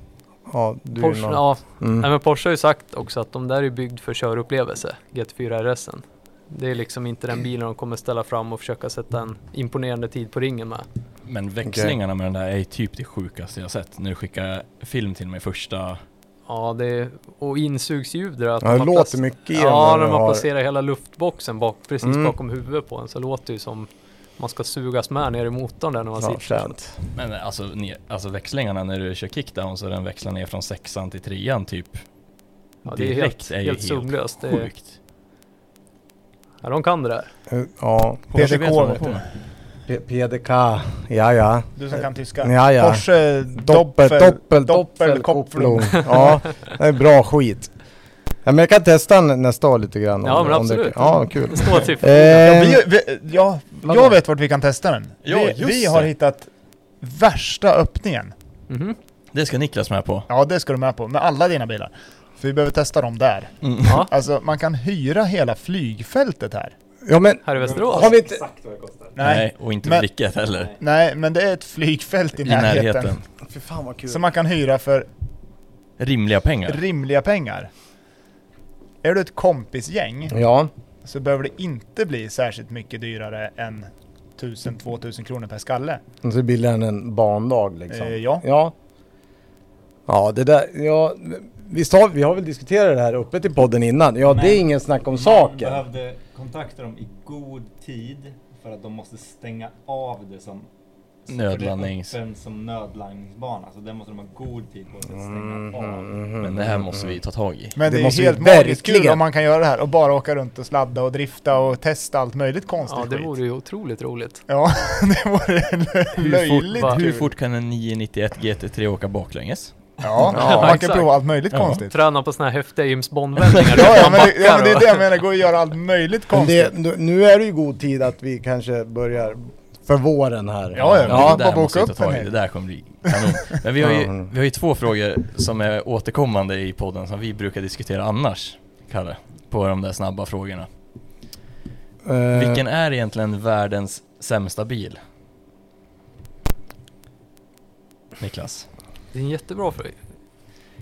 Ja, du är
Porsche,
någon-
ja, Nej
mm.
men Porsche har ju sagt också att de där är byggd för körupplevelse, GT4 RSen. Det är liksom inte den bilen de kommer ställa fram och försöka sätta en imponerande tid på ringen med.
Men växlingarna med den där är ju typ det sjukaste jag sett. När du skickar film till mig första...
Ja, det är, och insugsljud där. Att
Ja,
de
det
har
låter
plac-
mycket i den
Ja,
där
när
du
man
har.
placerar hela luftboxen bak, precis
Mm.
bakom huvudet på en så låter det ju som man ska sugas med ner i motorn där när man
Ja,
sitter.
fränt.
Men alltså, ne- alltså växlingarna när du kör kickdown så den växlar ner från sexan till trean typ.
Ja, det är helt-
direkt är ju
helt
helt,
sömlöst. Det är-
sjukt.
Ja, de kan det där.
Ja,
PDK,
vet vad de har
vet
på
du.
med.
P- PDK, ja ja.
Du som kan tyska.
Ja, ja.
Porsche
Doppel,
Doppel,
doppel, doppelkopplung. <laughs> Ja, det är bra skit. Ja, men jag kan testa n- nästa år lite grann.
Ja, men absolut. typ-
Det, ja, kul.
Det står till
Ja,
Eh,
vi, vi, ja, jag vet vart vi kan testa den.
Ja,
vi,
just
vi har
det.
hittat värsta öppningen.
Mhm.
Det ska Niklas med på.
Ja, det ska du med på. Med alla dina bilar. För vi behöver testa dem där.
Mm.
Ja,
Alltså, man kan hyra hela flygfältet här.
ja, men
här i Västerås.
har vi inte...
Exakt vad det kostar.
Nej, nej,
och inte
Men-
blicket heller.
men det är ett flygfält i,
I närheten.
Fy fan vad kul.
Som man kan hyra för
Rimliga pengar.
rimliga pengar. Är du ett kompisgäng
Ja,
så behöver det inte bli särskilt mycket dyrare än 1000-2000 kronor per skalle.
och så bildar den en bandag liksom.
Eh, ja.
Ja. Ja, det där, ja, visst har, vi har väl diskuterat det här uppe till podden innan. Ja, det är
Men-
ingen snack om
Man
saken.
behövde kontakta dem i god tid för att de måste stänga av det som så för det är
Nödlandnings.
öppen som nödlandningsbana. Så det måste de ha god tid på sig att stänga
Mhm.
av.
Mm-hmm, Men det här måste vi ta tag i.
Men
Det
det, är
måste
ju
vi
helt magiskt kul
verkligen.
om man kan göra det här och bara åka runt och sladda och drifta och testa allt möjligt konstigt
Ja, det
skit.
vore ju otroligt roligt.
Ja, <laughs> det vore löjligt
va?
kul.
Hur fort kan en 991 GT3 åka baklänges?
Ja,
Ja,
man kan
exakt.
prova allt möjligt
Ja.
konstigt.
Träna på såna här häftiga James Bond-vändningar.
<laughs> Ja, ja, men det, ja,
backar
men det är
och-
det jag menar, det går att göra allt möjligt
Men
konstigt.
det, nu- nu är det ju god tid att vi kanske börjar för våren här.
Ja, ja.
Ja,
Ja,
det
bara
där
boka
måste vi ta
upp en
tag i.
helg.
Det där kommer bli kanon. Men vi har,
<laughs>
ju,
Mm.
vi har ju två frågor som är återkommande i podden som vi brukar diskutera annars, Kalle. På de där snabba frågorna.
Eh,
Vilken är egentligen världens sämsta bil? Niklas?
Det är en jättebra fråga.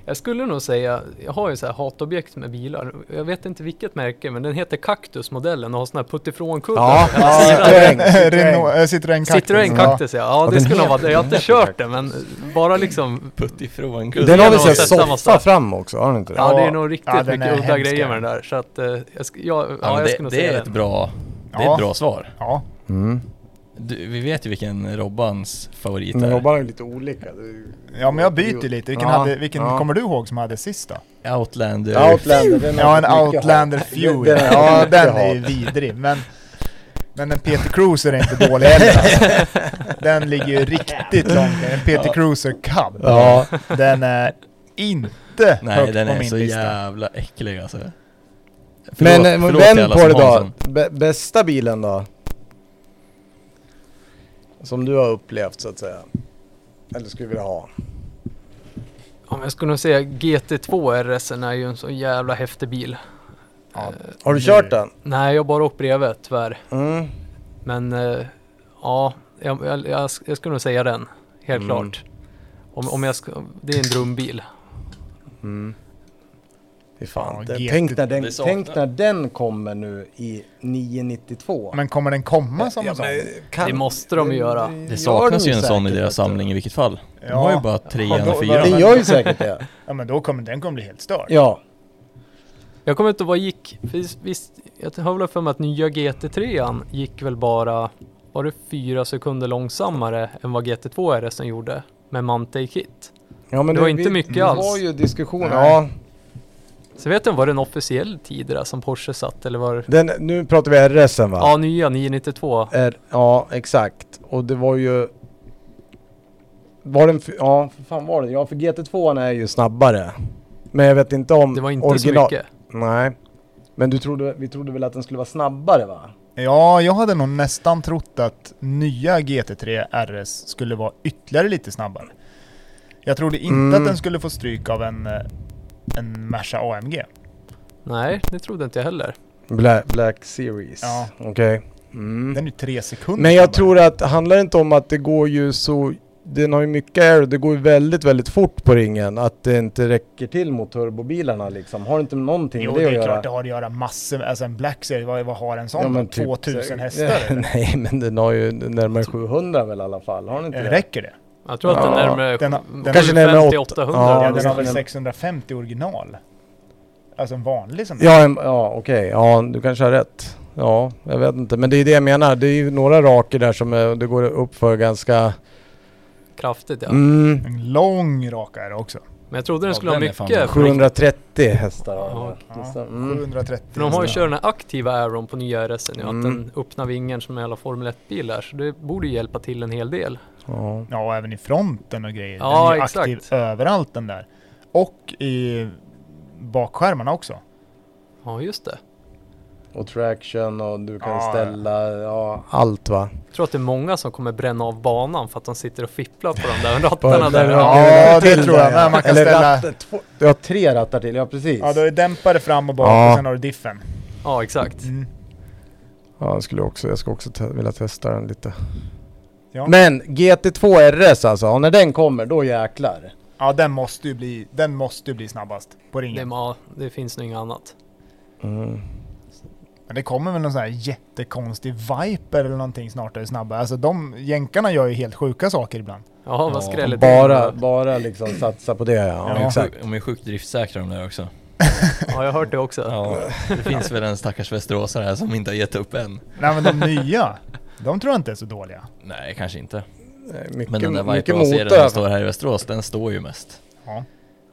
Jag skulle nog säga, jag har ju så här hatobjekt med bilar. Jag vet inte vilket märke, men den heter Kaktusmodellen och har sån här puttifrånkuddar.
Ja,
på hela
ja,
sidan.
Citroën.
<laughs> Renault- eh, Citroën Cactus.
Citroën Kaktus ja. ja, det
den
skulle nog vara det. Jag har inte kört
Kaktus.
den, men bara liksom...
Putt ifrån
Den har väl
Gudrun har
såhär
sett samma
soffa
sak.
fram också, har den inte det?
Ja,
Ja,
det är nog riktigt
ja, den är
mycket udda
hemsk,
grejer med
ja.
den där. Så att, eh, jag, sk- ja, ja,
Ja,
jag
det,
skulle nog
det
säga
är
den.
ett bra, det är
Ja.
ett bra svar.
Ja,
Mm.
Du, vi vet ju vilken Robbans favorit
Men
är.
jobbar ju lite olika. Det är ju-
ja, men jag byter lite. Vilken,
Ja,
hade, vilken
ja.
kommer du ihåg som hade sista?
Outlander.
Outlander,
<laughs>
den har
Ja, en
fått mycket
Outlander
hat.
Fuel.
Den- den har
Ja,
fått
den
mycket
är ju
hat.
vidrig. Men, men en Peter Cruiser är inte dålig heller. alltså. Den ligger ju riktigt långt ner. En Peter Cruiser Cub.
Ja,
Den är inte
Nej,
högt
den
på
är
min
så
lista.
jävla äcklig alltså.
men eh,
förlåt till
vänd
alla
på
som
det
har en
då.
sån.
Bä- bästa bilen då? Som du har upplevt så att säga. Eller skulle vilja ha.
Ja, men jag skulle nog säga GT2 RSen är ju en så jävla häftig bil.
Ja.
Har du
Mm.
kört den?
Nej, jag har bara åkt bredvid tyvärr.
Mm.
Men eh, ja, jag, jag, jag, sk- jag skulle nog säga den. Helt
Mm.
klart. Om, om jag ska, det är en drömbil.
Mm. Fy fan.
Ja,
den,
jätte-
tänk, när den,
det saknar.
tänk när den kommer nu i 992.
Men kommer den komma som en sån?
eh, kan-
Det måste de ju göra.
gör
Det saknas
de
ju en sån i
säkert,
deras
vet du.
samling i vilket fall. De
Ja.
har ju bara tre
Ja,
eller
då-
fyra.
Det gör ju säkert
<laughs>
det.
Ja, men då kommer den kommer bli helt störd.
Ja.
Jag kommer inte ihåg vad gick. Visst, visst, jag har väl för mig att nya GT3 gick väl bara, var det fyra sekunder långsammare än vad GT2 RSen gjorde med Mante Kit.
ja men
Det var inte mycket alls.
Vi har ju diskussioner.
Nej.
Ja,
Så vet jag var det en officiell tid där som Porsche satt eller var det?
den, nu pratar vi RSen va?
Ja, nya 992.
R, ja, exakt. Och det var ju... Var den... f- Ja, för fan var det? Ja, för GT2 är ju snabbare. Men jag vet inte om
Det var inte
original...
så mycket.
Nej. Men du trodde, vi trodde väl att den skulle vara snabbare va?
Ja, jag hade nog nästan trott att nya GT3 RS skulle vara ytterligare lite snabbare. Jag trodde inte
Mm.
att den skulle få stryk av en, eh, en Merca AMG.
Mm.
Nej, det trodde inte jag heller.
Black, Black Series.
Ja.
Okej. Mm.
Den är ju tre sekunder
Men
snabbare.
jag tror att, handlar det inte om att det går ju så... Den har ju mycket aero, det går ju väldigt, väldigt fort på ringen. Att det inte räcker till mot turbobilarna liksom. Har inte någonting
Jo,
med
det
det,
är
att
klart det
göra?
har att göra massor med, alltså en Black Series, vad, vad har en sån? då?
men typ- <laughs>
2000 hästar eller?
Nej, men den har ju närmare 700 väl i alla fall. Har den inte
Eh,
det?
Räcker det?
Jag tror att den
Ja,
närmare
den har- den-
Kanske närmare
750
åtta-
800.
ja,
Ja,
eller
det
den har
något
väl
men-
sånt.
650 original? Alltså en vanlig sån där.
Ja, em- ja okej. Ja, du kanske har rätt. Ja, jag vet inte. Men det är det jag menar. Det är ju några raker där som eh, det går upp för ganska...
Kraftigt ja.
Mm,
En lång raka är det också.
Men jag trodde den
Ja,
skulle
den är
ha
fan bra.
mycket. för-
730 hästar har
Ja,
den.
Ja,
Mm.
730.
För de har ju kört den här aktiva Aeron på nya RSen ju,
Mm.
att den öppnar vingen som en alla Formel 1-bil där, så det borde ju hjälpa till en hel del.
Ja.
Ja, även i fronten och grejer.
Ja,
den är ju
exakt.
aktiv överallt den där. Och i bakskärmarna också.
Ja, just det.
Och traction och du kan
Ja.
ställa ja, allt va?
Jag tror att det är många som kommer bränna av banan för att de sitter och fipplar på de där rattarna
Där
där.
du
Ja.
har
Ja,
till
det tror jag.
där, ja.
Men man kan
Eller
ställa-
ratten, två, du har tre rattar till, ja precis.
Ja, du har ju dämpare fram och bak
Ja.
och sen har du diffen.
ja, exakt.
Mm.
Ja, jag, skulle också, jag skulle också te- vilja testa den lite.
Ja.
Men GT2 RS alltså, ja, när den kommer då jäklar.
Ja, den måste ju bli, den måste ju bli snabbast på
Det,
ringen.
ja, det finns nog inget annat.
Mm.
Men det kommer väl någon sån här jättekonstig Viper eller någonting snart där det är snabbare. Alltså de, jänkarna gör ju helt sjuka saker ibland.
Ja,
Ja,
vad skrälligt.
Bara, bara liksom satsa på det ja.
Ja.
Exakt.
De är sjukt driftsäkra de där också.
Ja, jag har hört det också.
<laughs> Ja, det finns väl en stackars västeråsare här som inte har gett upp än.
Nej men de nya, de tror jag inte är så dåliga.
Nej, kanske inte.
Eh, Mycket,
Men den där
mycket
Viper man ser när den
motor. alltså.
står här i Västerås, den står ju mest.
Ja,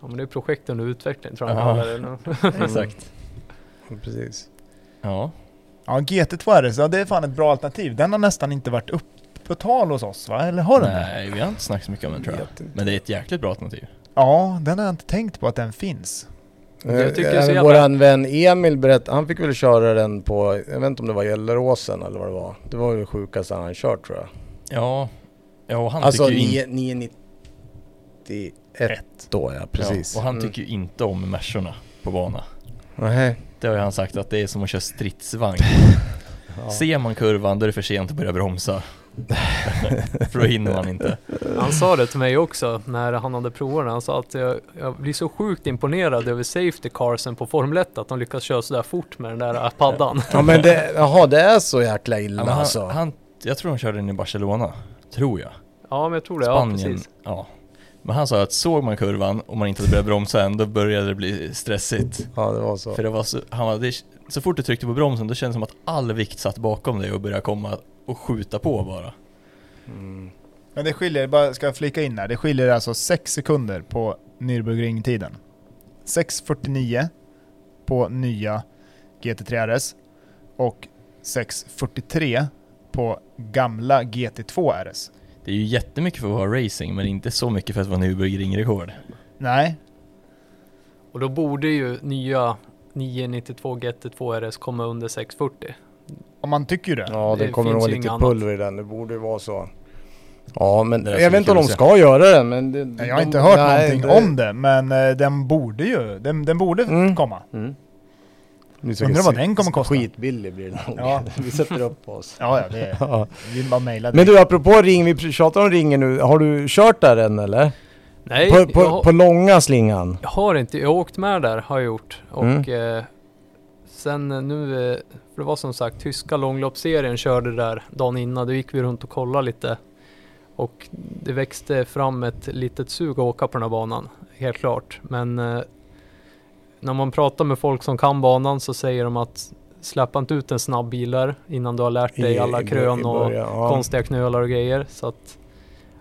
men det är projekt under utveckling tror jag de
Ja.
kallar det.
Mm.
Exakt.
Precis.
Ja,
Ja, GT2 RS, ja, det är fan ett bra alternativ. Den har nästan inte varit upp på tal hos oss va? Eller har den det?
nej vi har inte snackat så mycket om den tror jag.
Vet inte.
Men det är ett jäkligt bra alternativ.
Ja, den har jag inte tänkt på att den finns.
Jag tycker
Eh,
så jävla-
Våran vän Emil berättade, han fick väl köra den på, jag vet inte om det var Gelleråsen eller vad det var. Det var väl det sjukaste han kört tror jag.
Ja, ja och han
alltså
tycker ju inte...
9 991 då ja, precis.
Ja, och han
Mm.
tycker ju inte om Mersorna på bana.
Nej.
Det har ju han sagt att det är som att köra stridsvagn.
Ja.
Ser man kurvan då är det för sent att börja <laughs> bromsa. för då hinner man inte.
Han sa det till mig också när han hade provarna. Han sa att jag, jag blir så sjukt imponerad över safety carsen på Formel 1 att de lyckas köra sådär fort med den där äh,
<laughs>
paddan.
Ja men det, jaha det är så jäkla illa
Ja, men
alltså.
han, han, jag tror de körde den i Barcelona. Tror jag.
Ja, men jag tror det. Ja,
Spanien.
precis.
Ja. Men han sa att såg man kurvan och man inte hade börjat bromsa än, då började det bli stressigt.
Ja det var så.
För det var så, han var, det, så fort du tryckte på bromsen, då kändes det som att all vikt satt bakom dig och började komma och skjuta på bara.
Mm.
Men det skiljer, bara ska jag flika in här, det skiljer alltså 6 sekunder på Nürburgring-tiden. 6.49 på nya GT3 RS och 6.43 på gamla GT2 RS.
Det är ju jättemycket för att vara racing, men inte så mycket för att vara Nürburgring-rekord.
Nej,
Och då borde ju nya 992 GT2 RS komma under 640.
om man tycker ju det.
Ja det,
Det
kommer
finns
nog
ju
lite
inget
pulver i den, det borde ju vara så. Ja men
Det där
jag
ska
vet
bli
inte om
kul
de
att se.
ska göra det men... Det,
Jag har
de-
inte hört
nej,
någonting om det, men eh, den borde ju, den, den borde
Mm.
komma.
Mm.
Undrar vad den kommer kosta.
Skitbillig blir den nog.
Ja.
<laughs> Vi sätter upp oss.
<laughs> Ja, ja, det är,
<laughs> Ja.
vi bara mejla
Men du apropå ring, vi tjatar om ringen nu. Har du kört där än eller?
Nej,
på, på,
jag, har-
på långa slingan?
jag har inte. Jag har åkt med där, har jag gjort. Och eh, sen eh, nu, eh, för det var som sagt tyska långloppsserien körde där dagen innan. Då gick vi runt och kollade lite. Och det växte fram ett litet sug att åka på den här banan, helt klart. Men eh, när man pratar med folk som kan banan så säger de att släppa inte ut en snabb bil där innan du har lärt dig alla krön och
början, ja.
konstiga knölar och grejer. Så att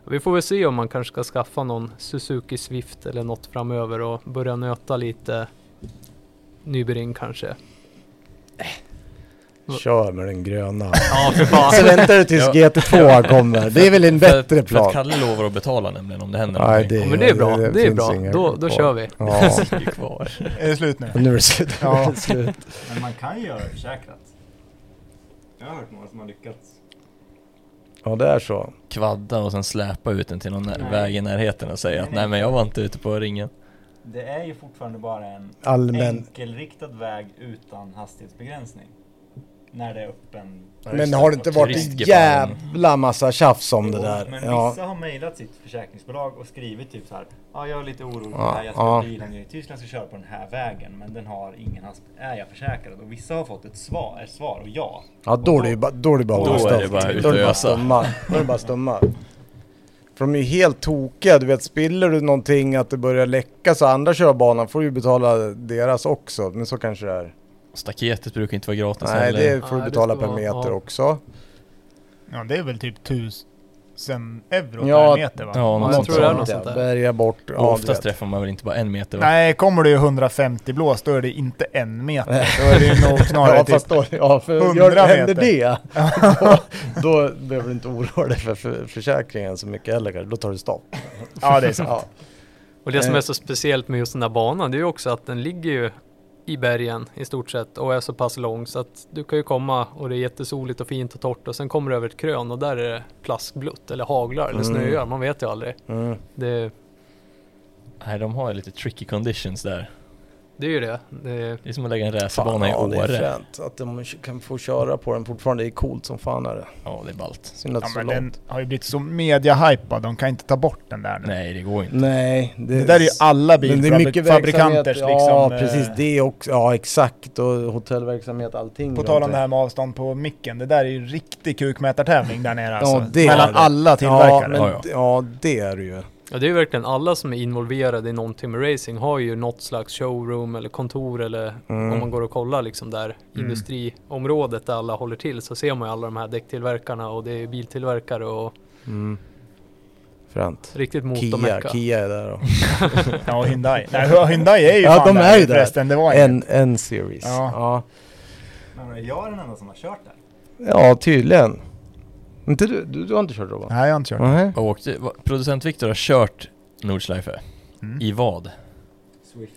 vi får väl se om man kanske ska skaffa någon Suzuki Swift eller något framöver och börja nöta lite Nybering kanske.
Kör med den gröna.
Ja,
<laughs>
för fan.
Så väntar du tills GT2 kommer. Det är väl en <laughs> bättre
För att
plan?
Kalle lovar att betala nämligen om det händer
Nej,
någonting.
Ja, men det är bra, det är
finns
bra.
inga
Då, då
kvar.
kör vi.
<laughs>
<laughs> Ja,
Sitter ju kvar.
Är det slut nu?
nu är det slut. Nu är
Ja.
det <laughs> slut.
Men man kan ju göra det försäkrat. Jag har hört några som har lyckats.
Ja, det är så.
Kvadda och sen släpa ut den till någon
Nej.
när- väg i närheten och säga
Nej,
att
nej.
nej men jag var inte ute på ringen.
Det är ju fortfarande bara en
Allmän.
enkelriktad väg utan hastighetsbegränsning. När det är öppen.
Men har det inte varit en
Turistgeparden.
jävla massa tjafs om det
Jo,
där?
Men
Ja.
vissa har mejlat sitt försäkringsbolag och skrivit typ så här. Ja, jag är lite orolig för
Ja,
det här. Jag ska
ja.
bilen ner i Tyskland ska köra på den här vägen, men den har ingen hast. Är jag försäkrad? Och vissa har fått ett svar, ett svar och ja.
Ja då är det ju ba- då är det bara
Då är
avstånd.
det bara
Då är det bara
utösa.
stumma. Då är det bara stumma. För de är ju helt tokiga, du vet spiller du någonting att det börjar läcka så andra kör banan får du ju betala deras också. Men så kanske det är.
Staketet brukar inte vara gratis
Nej
heller.
det får
Nej,
du
det
betala
ska
per
vara-
meter
ja.
också.
Ja, det är väl typ tus, tusen euro
Ja,
per meter va?
Ja,
jag
något
tror det är
sånt.
något sånt där.
Bärga bort. ja,
Och oftast
du vet.
träffar man väl inte bara en meter? va?
Nej, kommer du i 150 blås då är det inte en meter. Då är det ju
<laughs>
nog snarare
Ja,
typ...
fast då, ja, för
100
gör, händer
meter.
<laughs> det, då, då behöver du inte oroa dig för, för försäkringen så mycket heller. kanske. Då tar du stopp.
Ja, det
<laughs>
är sant.
Ja.
Och det som
Eh.
är så speciellt med just den där banan, det är ju också att den ligger ju i bergen i stort sett och är så pass lång så att du kan ju komma och det är jättesoligt och fint och torrt och sen kommer du över ett krön och där är det plaskblött eller haglar eller
Mm.
snöar, man vet ju aldrig.
Mm.
Det,
Nej, de har ju lite tricky conditions där.
det är ju det. det
Det är som att lägga en
Fan,
racerbana i
ja, det är
Åre.
fränt att de kan få köra på den fortfarande. Det är coolt som fan är det.
Ja, det är ballt.
Synd att
Ja,
det är
men
så
den
långt.
har ju blivit så media-hypad, de kan inte ta bort den där nu.
Nej, det går inte.
Nej,
Det där är ju alla
Men det är mycket
bilfabrikanters
verksamhet,
liksom...
Ja,
eh,
precis. Det också. Ja, exakt. Och hotellverksamhet, allting.
På
runt
tal om det här med avstånd på micken, det där är ju en riktig kukmätartävling där nere alltså.
det
Mellan
är det.
alla
Ja,
tillverkare.
men,
Ja,
ja, det är det ju.
Ja, det är ju verkligen alla som är involverade i någonting med racing har ju något slags showroom eller kontor eller
Mm.
om man går och kollar liksom där industriområdet där alla håller till så ser man ju alla de här däcktillverkarna och det är biltillverkare och
Mm. Fränt.
riktigt
Kia,
motormecka.
Kia är där då.
Ja, och Hyundai. Nej, Hyundai är ju
Ja,
fan
de är ju där.
förresten, det var en...
En, en series.
Ja.
Ja.
Men är jag den enda som har kört där?
ja, tydligen. Inte du, du, du har inte kört Robban?
Nej, jag har inte kört.
Nej.
Och åkte, va- producent Viktor har kört Nordschleife.
Mm.
I vad?
Swift.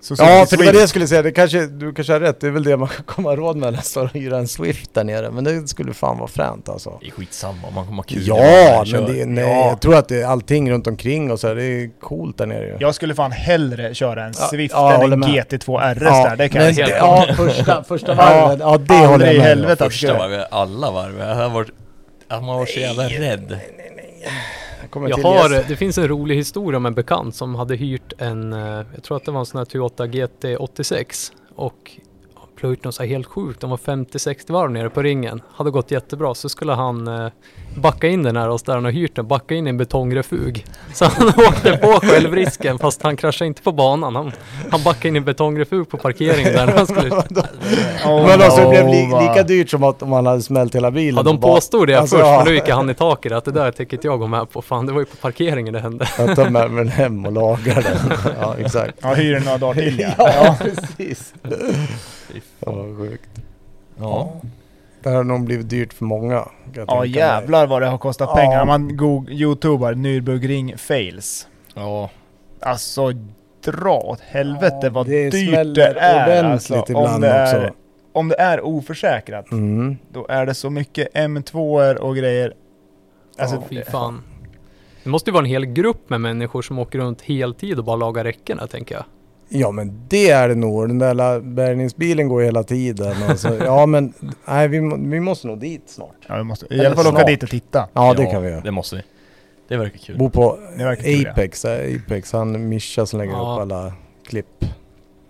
Så- så-
Ja, för det var
Swift.
det jag skulle säga. Det kanske, du kanske har rätt. Det är väl det man kan komma råd med nästan, att hyra en Swift där nere. Men det skulle fan vara fränt alltså.
Det är skitsamma om man kommer ha kul. när
Ja,
man
men
kör.
det, nej,
Ja.
jag tror att det, allting runt omkring och så här, det är coolt där nere ju.
Jag skulle fan hellre köra en
Ja,
Swift
ja, jag
än
håller
en
med.
GT2 RS där, det kan
men
jag säga.
helt
Ja, första, första
Ja,
varvet. Ja, det
aldrig
håller jag
i
med om.
helvete. vet att
Första
det-
varvet, alla varv. Jag har varit... Att man var så jävla rädd.
Jag kommer
Jag
till
har,
gäst.
det finns en rolig historia om en bekant som hade hyrt en, eh, jag tror att det var en sån här Toyota GT86 och plöjt något så här helt sjukt, de var 50-60 varv nere på ringen, hade gått jättebra, så skulle han eh, backa in den här oss där han har hyrt den, backa in i en betongrefug. <laughs> Så han åkte på självrisken fast han kraschade inte på banan, han, han backade in i en betongrefug på parkeringen där när
<laughs>
han skulle ut.
Oh,
Men alltså det blev li,
va.
lika dyrt som att om man hade smält hela bilen.
Ja, de
på bak-
påstod det
Alltså,
först,
ja.
men då gick han i taket att det där tänker inte jag gå med på, fan det var ju på parkeringen det hände.
Jag tar med mig den hem och lagar den. Ja, exakt.
Ja, hyr den några dagar till ja.
<laughs> Ja, precis. Ja, vad sjukt.
Ja.
Det här har nog blivit dyrt för många. kan jag tänka
Ja
mig.
jävlar vad det har kostat
Ja.
pengar. Om man go- youtubar Nürburgring fails.
Ja.
Alltså dra åt helvete
Ja,
vad
det
dyrt det
smäller
är
ordentligt
alltså. Om
ibland
det är,
också.
om det är oförsäkrat,
Mm.
då är det så mycket m 2 och grejer. Alltså,
Ja, fy fan. Det måste ju vara en hel grupp med människor som åker runt heltid och bara lagar räckena, tänker jag.
Ja men det är det nog. Den där lilla bärgningsbilen går ju hela tiden. Och så, ja men nej, vi, må- vi måste nog dit snart.
ja, vi måste i
Eller
alla fall åka
snart.
dit och titta.
Ja det kan vi göra.
Det måste vi. Det verkar kul.
Bo på
Det verkar kul, ja.
Apex, äh, Apex, han Mischa som lägger
Ja.
upp alla klipp.
Ja.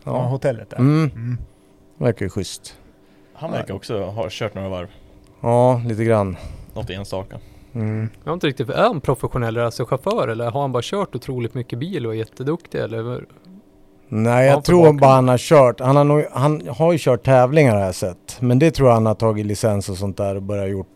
Ja,
hotellet där.
mm,
Mm.
verkar ju schysst.
Han verkar också ha kört några varv.
Ja, lite grann.
Något enstaka.
Mm.
Jag har inte riktigt, är han professionell racerchaufför eller har han bara kört otroligt mycket bil och är jätteduktig eller?
Nej,
Ja,
jag
för
tror
bakgrund.
bara han har kört. Han har, nog, han har ju kört tävlingar har jag sett. Men det tror jag han har tagit licens och sånt där och börjat gjort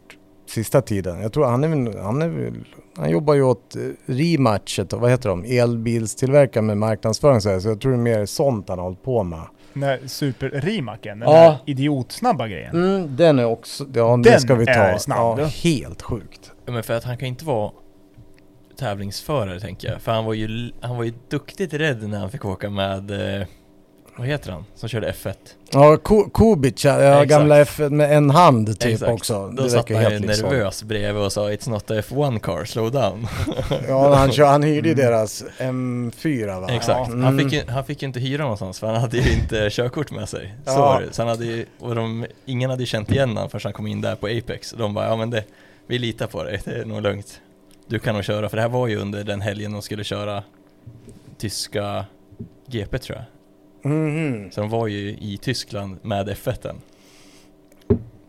sista tiden. Jag tror han är väl, han är väl, han jobbar ju åt eh, Rematchet, och vad heter de, elbilstillverkare med marknadsföring så, här, så jag tror det är mer sånt han har hållit på med.
Den där super-rimaken, den
Ja.
där idiotsnabba grejen.
Mm, den är också, ja den
Den
ska vi ta.
är snabb.
Ja, helt sjukt.
Ja, Men för att han kan inte vara tävlingsförare tänker jag. För han var ju, han var ju duktigt rädd när han fick åka med... Eh, vad heter han? Som körde F1.
Ja, Ku- Kubic, ja,
Exakt.
gamla F med en hand typ
Exakt.
också.
Då
Det
satt
verkar
han ju
helt liksom.
nervös bredvid och sa It's not a F1 car, slow down.
Ja, han, kör, han hyrde ju deras M4 va?
Exakt.
Mm.
Han, fick ju, han fick ju inte hyra någonstans för han hade ju inte <laughs> körkort med sig. Så
Ja.
var det. Så han hade ju, och de, ingen hade ju känt igen honom förrän han kom in där på Apex. Och de bara, ja men det, vi litar på dig, det är nog lugnt. Du kan nog köra, för det här var ju under den helgen de skulle köra tyska GP tror jag.
Mhm.
Så de var ju i Tyskland med F1. -en.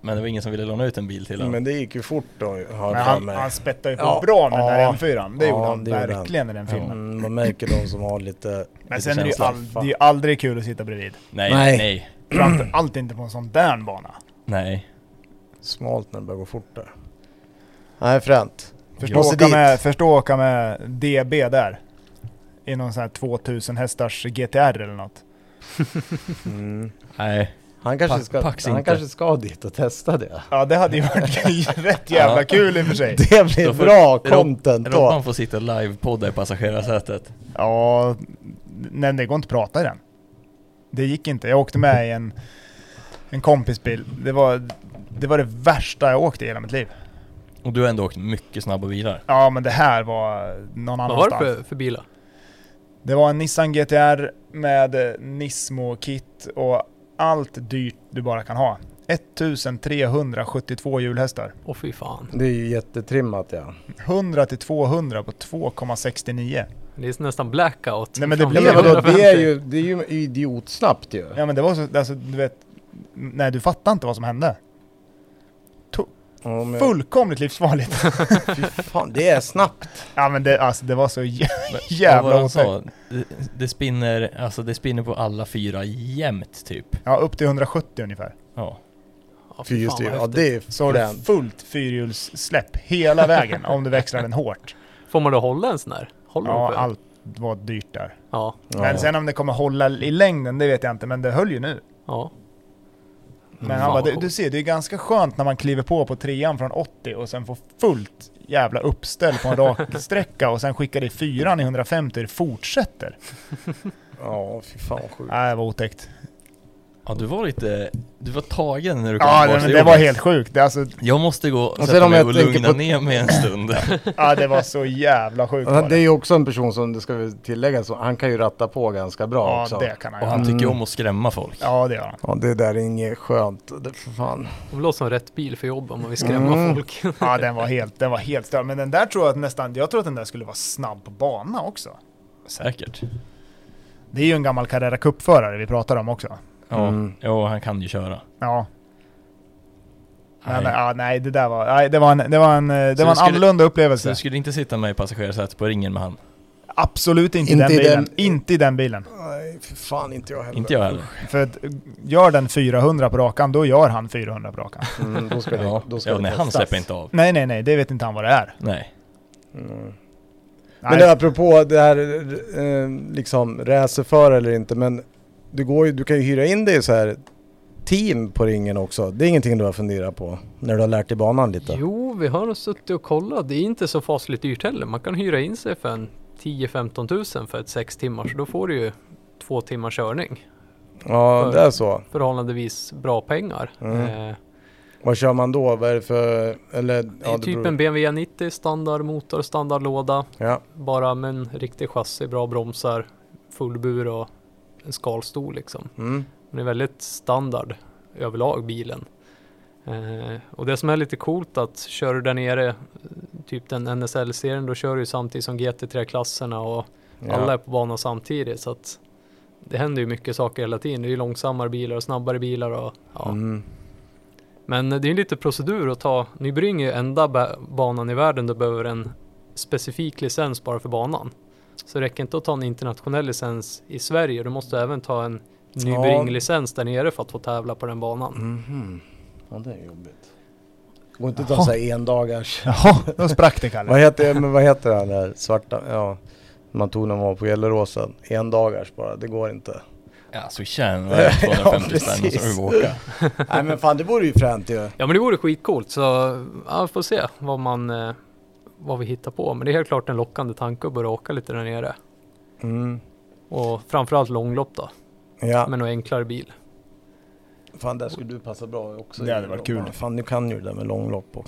Men det var ingen som ville låna ut en bil till honom.
Men det gick ju fort då har jag
Men
för
han,
mig.
han spettade ju på
Ja.
bra med
Ja.
den där M4. Det
Ja,
gjorde han
det gjorde han.
verkligen i den filmen.
Mm, man märker de som har lite...
Men
Lite
sen är det ju
känsla.
all, det är ju aldrig kul att sitta bredvid.
Nej,
Nej.
nej, nej.
Framförallt inte på en sån där bana.
nej.
Smalt när det börjar gå fort där. Nej, fränt.
Förstå
Måste
åka,
dit.
med, förstå åka med DB där. I någon sån här 2000 hästars GTR eller något.
Mm.
Nej,
Han, kanske
Pax-
ska,
Pax
han
inte.
kanske ska dit och testa <laughs> det.
Ja det hade ju varit <laughs> rätt jävla
Ja.
kul i och för sig.
Det blir
Då får-
bra
Rob-
content då.
Robban får sitta live-podda i passagerarsätet.
Ja, nej det går inte att prata i den. Det gick inte. Jag åkte med i en, en kompisbil. Det var, det var det värsta jag åkt i hela mitt liv.
Och du har ändå åkt mycket snabba bilar.
Ja men det här var någon
Vad var det
annanstans.
för, för bilar?
Det var en Nissan GTR med eh, Nismo-kit och allt dyrt du bara kan ha. 1372 hjulhästar.
Åh fy fan.
Det är ju jättetrimmat ja.
100 till 200 på 2,69.
Det är nästan blackout.
Nej, men det
Fan,
blir-
Ja, men vadå, det, är
150.
ju, det är ju idiotsnabbt ju.
Ja men det var så, alltså, du vet, nej du fattar inte vad som hände.
Ja, men-
Fullkomligt livsfarligt. <laughs>
Fy fan, det är snabbt.
Ja men det, alltså, det var så jä-
Men-
Jävla
vad var det han
otäckt.
sa? Det, det spinner, alltså det spinner på alla fyra jämt typ.
ja, upp till 170 ungefär.
Ja.
Ja,
Fy
fy
just det,
fan, vad
ja
häftigt.
det är
Så har du
fränt.
fullt fyrhjulssläpp hela vägen om du växlar den hårt.
Får man då hålla en sån här? Håller man
Ja,
på den?
allt var dyrt där.
Ja,
Men sen om det kommer hålla i längden, det vet jag inte, men det höll ju nu.
ja.
Men
Mm.
han bara,
Fan,
du,
coolt.
du ser, det är ganska skönt när man kliver på på trean från 80 och sen får fullt jävla uppställ på en rak sträcka och sen skickar det fyran i 150 och det fortsätter.
Ja, fy fan vad sjukt.
Nej, det var otäckt.
ja, du var lite, du var tagen när du kom
Ja,
tillbaka
det, men
till
det var
jobbet.
helt sjukt. Det, alltså,
Jag måste gå och
sen
sätta
om
mig
jag
och
tänker
lugna
på-
ner mig en stund.
ja, det var så jävla sjukt.
Ja,
var
Det är ju också en person som, det ska vi tillägga, så han kan ju ratta på ganska bra
Ja,
också.
det kan han
Och
göra.
han tycker ju om att skrämma folk.
Ja, det gör han.
Ja, det där är inget skönt. Det, för fan.
Det låter som rätt bil för jobb om man vill skrämma
Mm.
folk.
Ja, den var helt, den var helt störd. Men den där tror jag att nästan, jag tror att den där skulle vara snabb på bana också.
Säkert.
Det är ju en gammal Carrera Cup-förare vi pratar om också.
Ja,
Mm.
jo, han kan ju köra.
Ja,
Nej.
Men, ja, nej, det där var, nej, det var en, det var en, eh, det
Så
var en
du skulle-
annorlunda
Så
upplevelse.
du skulle inte sitta med i passagerarsätet på ringen med han?
Absolut inte,
Inte
i
i
den bilen.
den-
Inte i den bilen.
Nej, för fan inte jag heller.
Inte jag heller.
För att, eh, gör den 400 på rakan, då gör han 400 på rakan.
Mm, då ska det,
Ja,
då ska
ja
det
nej, han
testas.
släpper inte av.
Nej, nej, nej, det vet inte han vad det är.
Nej.
Mm.
Nej,
Men det, apropå det här eh, liksom racerförare eller inte, men du, går ju, du kan ju hyra in dig i så här team på ringen också. Det är ingenting du har funderat på när du har lärt dig banan lite?
Jo, vi har nog suttit och kollat. Det är inte så fasligt dyrt heller. Man kan hyra in sig för en 10-15 tusen för ett sex timmar. Så då får du ju två timmars körning.
Ja, det är så.
Förhållandevis bra pengar.
Mm.
Eh,
Vad kör man då? Vad är det för... Eller,
det är
det
typ
beror-
en BMW 90 standard motor, standard låda.
Ja.
Bara med en riktig chassi, bra bromsar, full bur och en skalstol liksom.
Mm.
Den är väldigt standard överlag bilen. Eh, och det som är lite coolt att kör du där nere, eh, typ den NSL-serien, då kör du ju samtidigt som GT3-klasserna och
Ja.
alla är på banan samtidigt. Så att det händer ju mycket saker hela tiden. Det är ju långsammare bilar och snabbare bilar. Och, ja.
Mm.
Men det är ju lite procedur att ta. Nybring är ju enda ba- banan i världen du behöver en specifik licens bara för banan. Så det räcker inte att ta en internationell licens i Sverige. Du måste även ta en Nybring-licens där nere för att få tävla på den banan.
Mhm. Ja, det är jobbigt. Går inte att ta så här endagars...
Jaha, då sprack det Kalle.
Vad heter, men vad heter han där svarta? Ja, man tog när man var på Gelleråsen. Endagars bara, det går inte.
Ja, swisha
<laughs>
en vad är det,
Ja,
250 spänn och så
precis.
får vi åka.
<laughs> Nej men fan det vore ju fränt ju.
Ja men det vore skitcoolt så ja, vi får se vad man eh, vad vi hittar på. Men det är helt klart en lockande tanke att börja åka lite där nere.
Mm.
Och framförallt långlopp då,
Ja,
med någon enklare bil.
fan där skulle du passa bra också.
Det hade varit kul.
Fan du kan ju det där med långlopp och...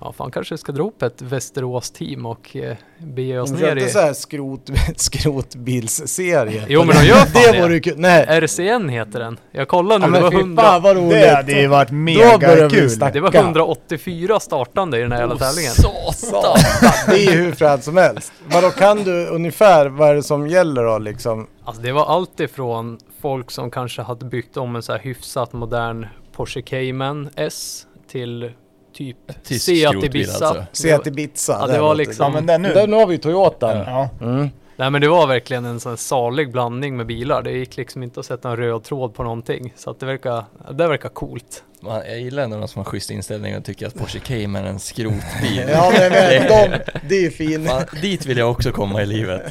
Ja fan kanske ska dra upp ett Västerås-team och eh, bege oss
Men
ner
Kör inte
i...
så här skrot, <laughs> skrotbilsserie.
Jo, men de gör fan
det.
det.
vore ju kul. Nej.
RCN heter den. Jag kollade nu,
Ja,
det
men
var,
fy
100,
fan vad roligt.
Det hade ju varit mega
börjar vi
kul.
snacka.
det var 184 startande i den här jävla tävlingen.
Satan!
Det är ju hur fränt som helst. Vadå kan du ungefär, vad är det som gäller då liksom?
Alltså det var allt ifrån folk som kanske hade byggt om en så här hyfsat modern Porsche Cayman S till typ
tysk
Seat
skrotbil
Ibiza.
alltså.
Seat Ibiza.
Ja, det
där
var
låter-
liksom-
Ja men den nu.
Där, nu har vi ju Toyotan.
Ja,
Mm.
Nej men det var verkligen en sån här salig blandning med bilar. Det gick liksom inte att sätta en röd tråd på någonting. Så att det verkar, det verkar coolt.
Man, jag gillar ändå de som har schysst inställning och tycker att Porsche Cayman är
<laughs>
en skrotbil.
Ja
<laughs>
men, men de, det är fin.
Fan, dit vill jag också komma i livet.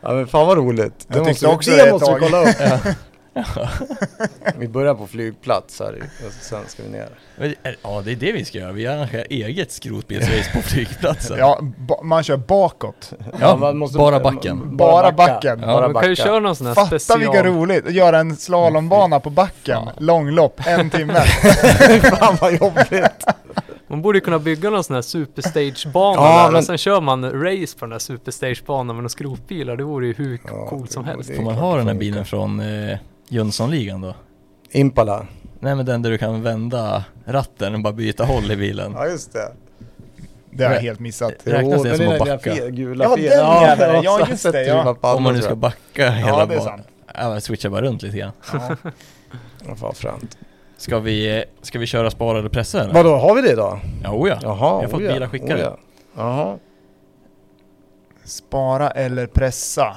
Ja men fan vad roligt.
Jag
Det måste,
tyckte också
det
det ett
måste vi
tag.
kolla upp. <laughs>
Ja.
Vi börjar på flygplats här i- och sen ska vi ner.
Men, eh, ja, det är det vi ska göra. Vi arrangerar eget skrotbilsrace på flygplatsen.
Ja, ba- man kör bakåt.
Ja,
man måste-
bara backen.
Bara backen.
Ja.
Bara
Man kan ju
backa.
köra någon sån här
Fatta vilka
special.
roligt! Att göra en slalombana på backen, långlopp, en timme.
<laughs> Fan vad jobbigt.
Man borde ju kunna bygga någon sån här superstagebana
Ja,
där
men-
och sen kör man race på den här superstagebanan med några skrotbilar. Det vore ju hur
Ja,
coolt som
det-
helst.
det-
Får man ha den här bilen från eh, Jönssonligan då?
Impala.
Nej men den där du kan vända ratten och bara byta håll i bilen.
Ja just det.
Det har jag helt missat.
Räknas det
men
som
den där
att backa?
fe- Gula
Ja,
fe-
den jäveln. Ja, just
så
det,
sätter
ja.
man på
Om man nu
andra,
ska backa hela
Ja, det är
banan.
sant.
Ja, men switcha bara runt lite grann.
Ja.
tror jag. Fan, fränt.
Ska vi, eh, ska vi köra spara eller pressa eller?
Vadå, har vi det idag?
Ja, oh ja.
Jaha,
Jag har fått
oh ja,
bilar skickade.
oh ja. Jaha.
Spara eller pressa?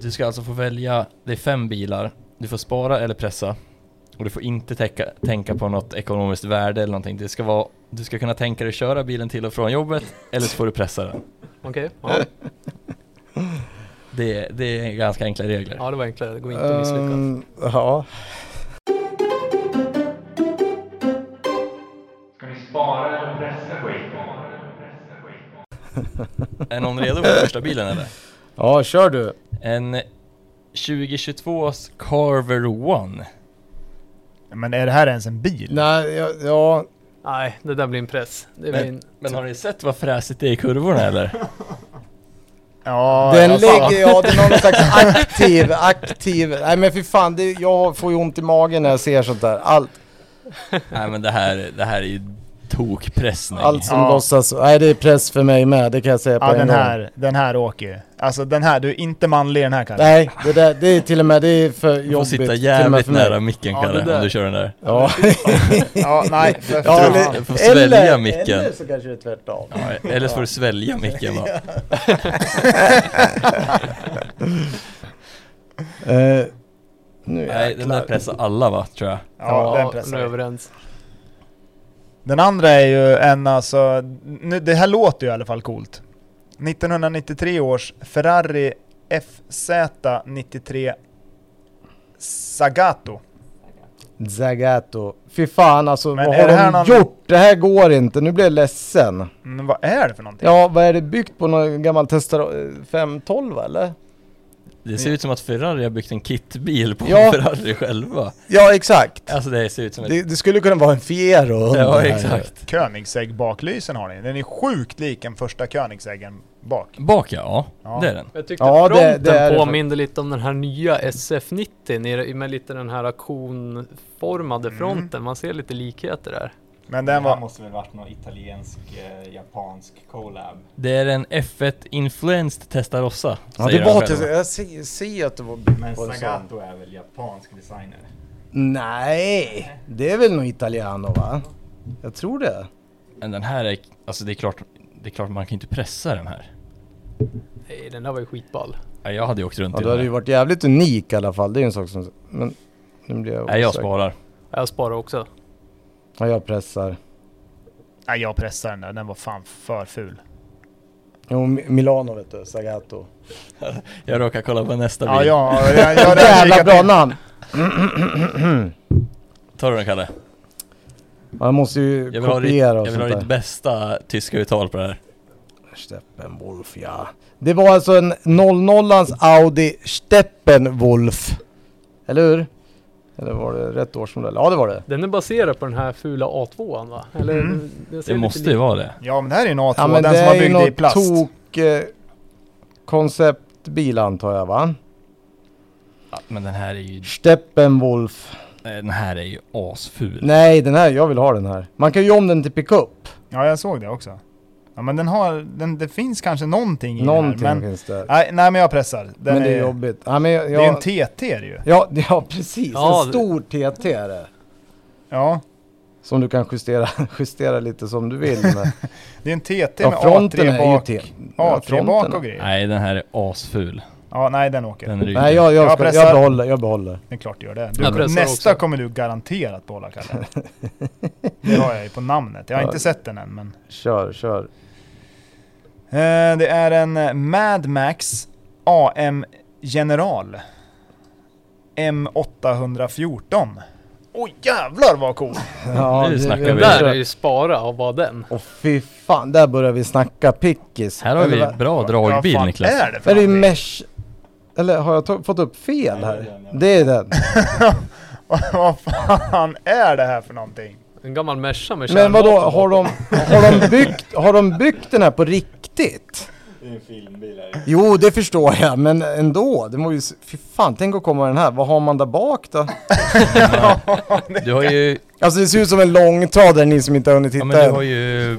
Du ska alltså få välja, det är fem bilar. Du får spara eller pressa. Och du får inte täcka, tänka på något ekonomiskt värde eller någonting. Det ska vara, du ska kunna tänka dig köra bilen till och från jobbet eller så får du pressa den.
Okej, ja.
Det, är- det är ganska enkla regler.
ja det var enklare. Det går inte att misslyckas.
Ehm, ja.
Är någon redo för första bilen eller?
ja, kör du.
En 2022s Carver One.
Men är det här ens en bil?
Nej, ja, ja,
Nej, det där blir en press. Det blir en...
Men har ni sett vad fräsigt det är i kurvorna eller?
Ja,
den
alltså.
lägger jag, det är någon slags
<laughs>
aktiv, aktiv. Nej men för fan, det, jag får ju ont i magen när jag ser sånt där. Allt,
Nej men det här, det här är ju tokpressning.
allt som
Ja.
låtsas. Nej det är press för mig med, det kan jag säga på
Ja,
en
den
gång.
här, den här åker ju. Alltså den här, du är inte manlig i den här Kalle.
Nej, det, där, det är till och med, det är för
Du får
jobbigt.
sitta
till och med
jävligt
för mig.
nära micken
Ja, det
Kalle
där.
om <laughs> du kör den där.
Ja.
<laughs> Ja, nej, för
Ja,
fan.
eller- du får svälja micken.
Eller så kanske det är tvärtom.
Ja, eller så får du svälja micken då.
Eh, nu
Nej, den där
jäklar.
pressar alla va, tror jag.
Ja, den
nu är
pressar
vi
vi.
överens.
Den andra är ju en alltså, nu, det här låter ju i alla fall coolt. 1993 års Ferrari FZ93 Sagato.
Zagato. Fy fan alltså,
Men
vad
är
har
det
de
här någon-
gjort? Det här går inte, nu blir jag ledsen.
Men vad är det för någonting?
Ja, vad är det byggt på? Någon gammal eh, Testarossa 512 eller?
Det ser ut som att Ferrari har byggt en kitbil på
Ja.
Ferrari själva.
Ja, exakt.
Alltså det ser ut som ett...
Det, det skulle kunna vara en Fiero under
ja,
här.
exakt.
Koenigsegg baklysen har ni. Den är sjukt lik den första Koenigseggen bak.
Bak ja, ja,
Ja.
det är den.
Jag tyckte
Ja, det- det
fronten
är det fakt-
påminde lite om den här nya SF90 nere- med lite den här konformade
Mm.
fronten. Man ser lite likheter där.
Men
Den
den
här
var...
måste väl varit någon italiensk, eh, japansk collab.
Det är en F1 Influenced Testarossa,
Ja, det
säger
var
de
till,
själva.
jag ser, ser att det var byggt
Men
på en sån.
Sagato är väl japansk designer?
Nej, det är väl nog Italiano va? Jag tror det.
Men den här är, alltså det är klart, det är klart man kan ju inte pressa den här.
Nej, den där var ju skitball.
Ja, jag hade ju åkt runt
Ja,
i
då
den
hade
här.
ju varit jävligt unik i alla fall. Det är ju en sak som... Men nu blir jag
Nej, jag
osäker.
sparar.
Jag sparar också.
Ja, jag pressar.
Nej, jag pressar den där. Den var fan för ful.
Jo, Mi- Milano vet du, Sagato.
Jag råkar kolla på nästa
Ja,
bil.
ja, jag, jag, jag,
Jävla bra namn!
Tar du den Kalle?
Ja, Jag måste ju
Jag vill, ha ditt,
kopiera
jag
och
vill ha ditt
sånt där.
bästa tyska uttal på det här.
Steppenwolf ja. Det var alltså en 00ans Audi Steppenwolf. Eller hur? Eller var det rätt årsmodell? Ja det var det.
Den är baserad på den här fula A2an va? Eller,
Mm.
den- den ser
Det
lite
måste
lik-
ju vara det.
Ja, men det här är en A2.
Ja men
den
det
som man
är ju
byggde i
något
plast.
tok... Eh, konceptbil antar jag va?
Ja, men den här är ju,
Steppenwolf.
den här är ju asful.
Nej den här, jag vill ha den här. Man kan ju om den till pickup.
Ja, jag såg det också. Ja, men den har... Den, det finns kanske någonting i
Någonting
den här, men...
finns där.
Nej, nej, men jag pressar. Den
men det är
är
jobbigt. Ja, men jag,
Det är en
jag, <laughs>
TT är det ju.
ja, ja precis,
Ja,
en
det-
stor TT är det.
Ja.
Som du kan justera, <laughs> justera lite som du vill. Med.
<laughs> Det är en TT
Ja,
med
fronten
A3
är ju
bak,
till. Ja,
A3 bak
fronten.
och grejer.
Nej, den här är asful.
Ja, nej den åker.
Den ryker.
Nej, jag, jag,
Jag
ska,
pressar.
jag behåller. Jag behåller.
Det är klart du gör det.
Jag
Du,
pressar
nästa
också.
kommer du garanterat behålla
<laughs>
Kalle. Det har jag ju på namnet. Jag har
Ja.
inte sett den än men...
Kör, kör.
Eh, Det är en eh, Mad Max AM General. M814. Oj jävlar vad cool!
Ja,
Nu
det-
snackar
det-
vi.
Där är ju spara av bara den.
Åh fy fan, där börjar vi snacka pickis.
Här har
Eller
vi
vad-
bra dragbil
Vad fan
Niklas.
är det för
Är det ju
någonting?
mesh? Eller har jag to- fått upp fel
Nej, det är
här?
den, ja.
Det är den.
<laughs> Vad fan är det här för någonting?
En gammal Merca med
Men vadå,
kärnvapen
har de, har, de byggt, har de byggt den här på riktigt?
Det är en filmbil här.
Jo, det förstår jag, men ändå. Det må ju, s- fy fan, tänk att komma med den här. Vad har man där bak då?
Du har ju,
Alltså det ser ut som en långtradare, ni som inte har hunnit
ja,
titta
men du har
än.
ju,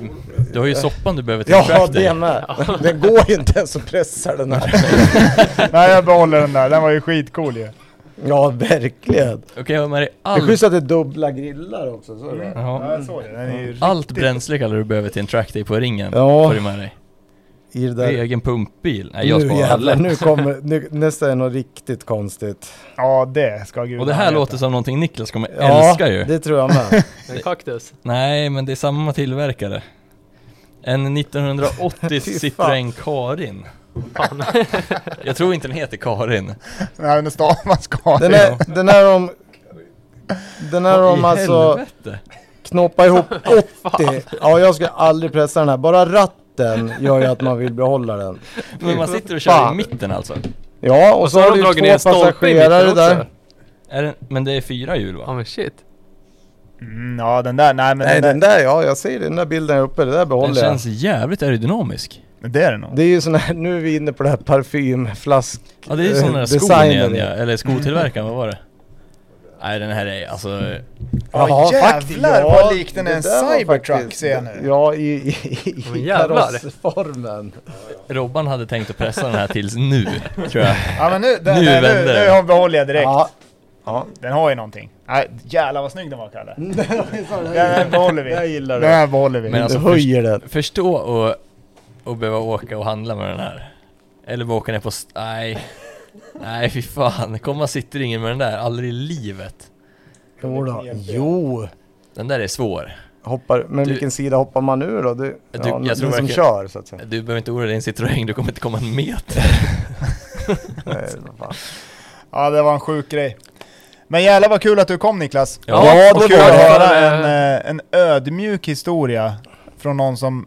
du har ju soppan du behöver till
Ja,
craft
det
i.
med. Den går ju inte ens att pressa den här.
Nej jag behåller den där, den var ju skitcool ju.
Ja, verkligen.
Du kan ju ha med dig
Det är
allt,
schysst att det är dubbla grillar också. Så är det.
Ja,
ja,
jag såg det. Den är ju
allt bränsle kallar du behöver till en track day på ringen.
Ja.
Får du med dig.
I det där.
Egen pumpbil. Nej, jag
nu
sparar
jävlar,
lätt.
nu kommer, nu, nästa är något riktigt konstigt.
Ja, det ska gudarna
Och det här
veta.
låter som någonting Niklas kommer älska ju.
det tror jag med.
En kaktus.
Nej, men det är samma tillverkare.
<laughs>
En 1980
Fy fan.
Citroën Karin.
Fan.
Jag tror inte den heter Karin.
Nej, den stavas Karin.
Den är, den är de, den är
Vad i
de alltså
helvete?
knåpa ihop 80. Ja, jag ska aldrig pressa den här. Bara ratten gör ju att man vill behålla den.
Men man sitter och kör i
fan.
mitten alltså.
Ja, och,
Och
så
så har
har
de
du
dragit
ju
ner
två
en stolpe i mitten
passagerare
också.
där.
Är den, men det är fyra hjul
Ja
va?
men shit.
Mm, ja, den där. Nej, men
Nej,
den
den där, ja, jag ser det. Den där bilden är uppe, det där
Den
behåller jag.
känns jävligt aerodynamisk.
där. Det är den nog.
Det är ju sån här, nu är vi inne på det här parfymflask...
Ja det är ju
eh,
sån där skon
designen
igen
i.
ja, eller skotillverkaren, vad var det? Nej den här är alltså,
Ja, jävlar
faktiskt,
vad lik den är
det
en
där var
cybertruck
faktiskt-
ser jag nu.
Ja, i, i, i,
Men
i
jävlar.
karossformen.
Robban hade tänkt att pressa den här tills nu, tror jag.
Ja, men nu, den,
Nu
nu, nej,
vänder
nu,
det.
nu har- behåller jag direkt.
Ja. ja.
Den har ju någonting. Nej, jävlar vad snygg den var Kalle. Den
jag
här behåller vi.
gillar
Den här behåller vi.
Men alltså,
du höjer den.
Förstå och, och behöva åka och handla med den här. Eller bara åka ner på, st- nej. Nej fy fan, komma sitter ingen med den där, aldrig i livet.
Jo, då. jo.
Den där är svår.
Hoppar, men
Du-
vilken sida hoppar man nu då? Du,
Du-
ja,
jag
jag
tror
den som
verkligen-
kör så att
<laughs>
säga.
Du behöver inte oroa dig i en Citroën, du kommer inte komma en meter.
Nej, vad fan.
Ja, det var en sjuk grej. Men jävlar vad kul att du kom Niklas.
Ja,
det
och
var
kul att
det.
höra en, eh, en ödmjuk historia från någon som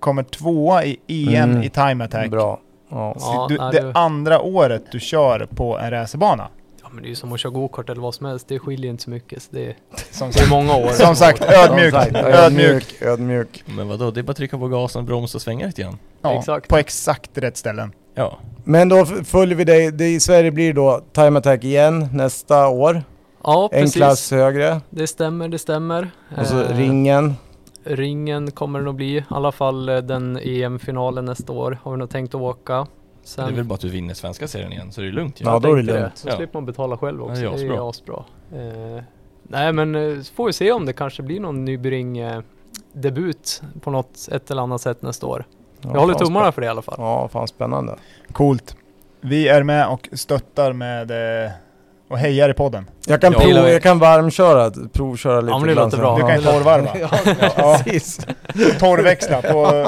kommer tvåa i EM
Mm.
i time attack.
Bra. Ja.
Ja,
du,
nej,
det
det-
andra året du kör på en racerbana.
Ja men det är ju som att köra gokart eller vad som helst. Det skiljer inte så mycket. Så det, är,
Som
det är
sagt,
många år.
som sagt ödmjuk.
Som sagt,
ödmjuk.
ödmjuk. Ödmjuk.
Men vadå, det är bara att trycka på gasen, bromsa och svänga lite grann.
Ja,
Exakt.
På exakt rätt ställen.
Ja.
Men då f- följer vi dig. Det I Sverige blir då Time Attack igen nästa år.
Ja
En
precis.
klass högre.
Det stämmer, det stämmer.
Och så
Eh,
ringen.
Ringen kommer det nog bli. I alla fall eh, den EM-finalen nästa år har vi nog tänkt att åka.
Det är
Sen
väl bara att du vinner svenska serien igen, så det är lugnt ju.
Ja,
Jag
då är det
tänkte
lugnt.
Så
Ja.
slipper man betala själv också.
Ja, det
det
är
är ju asbra. Eh, nej men eh, så får vi se om det kanske blir någon Nybring eh, debut på något ett eller annat sätt nästa år.
Ja,
Jag håller
fan,
tummarna
spä-
för det i alla fall.
Ja, fan spännande.
Coolt. Vi är med och stöttar med eh, och hejar i podden.
Jag kan,
Ja.
prov,
Gillar vi.
jag kan varmköra, provköra lite.
men det
ibland
låter
sen.
bra.
Du kan ju
Ja.
torrvarva.
<laughs> Ja, precis.
Torrväxla på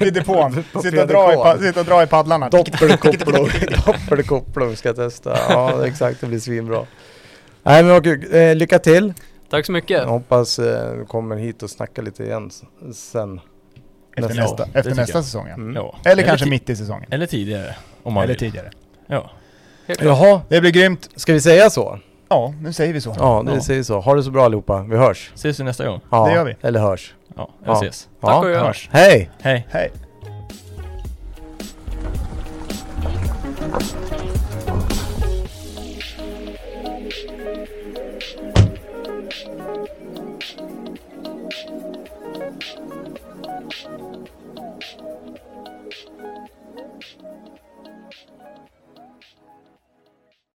vid depån.
På
Sitta och, dra i,
PDK.
pa- sitta och dra i paddlarna. <laughs>
Doppelkopplung, doppelkopplung ska jag testa. Ja, exakt, det blir svinbra. Nej men vad kul, eh, lycka till.
Tack så mycket.
Jag hoppas eh, du kommer hit och snackar lite igen s- sen.
Efter
Nästa
nästa,
år. Det
efter
tycker
nästa
jag.
säsong ja.
Mm.
Ja.
Eller kanske
ti-
mitt i säsongen.
Eller tidigare, om man
Eller
vill.
tidigare.
Ja.
Jaha,
Det blir grymt.
ska vi säga så?
Ja, nu säger vi så.
Ja, det
Ja.
säger så. Ha det så bra allihopa, vi hörs.
Ses vi nästa gång?
Ja,
Det gör vi.
Eller hörs.
Ja, jag
Ja.
ses.
Tack
Ja.
och hej.
Hörs.
Hej!
Hej.
Hej.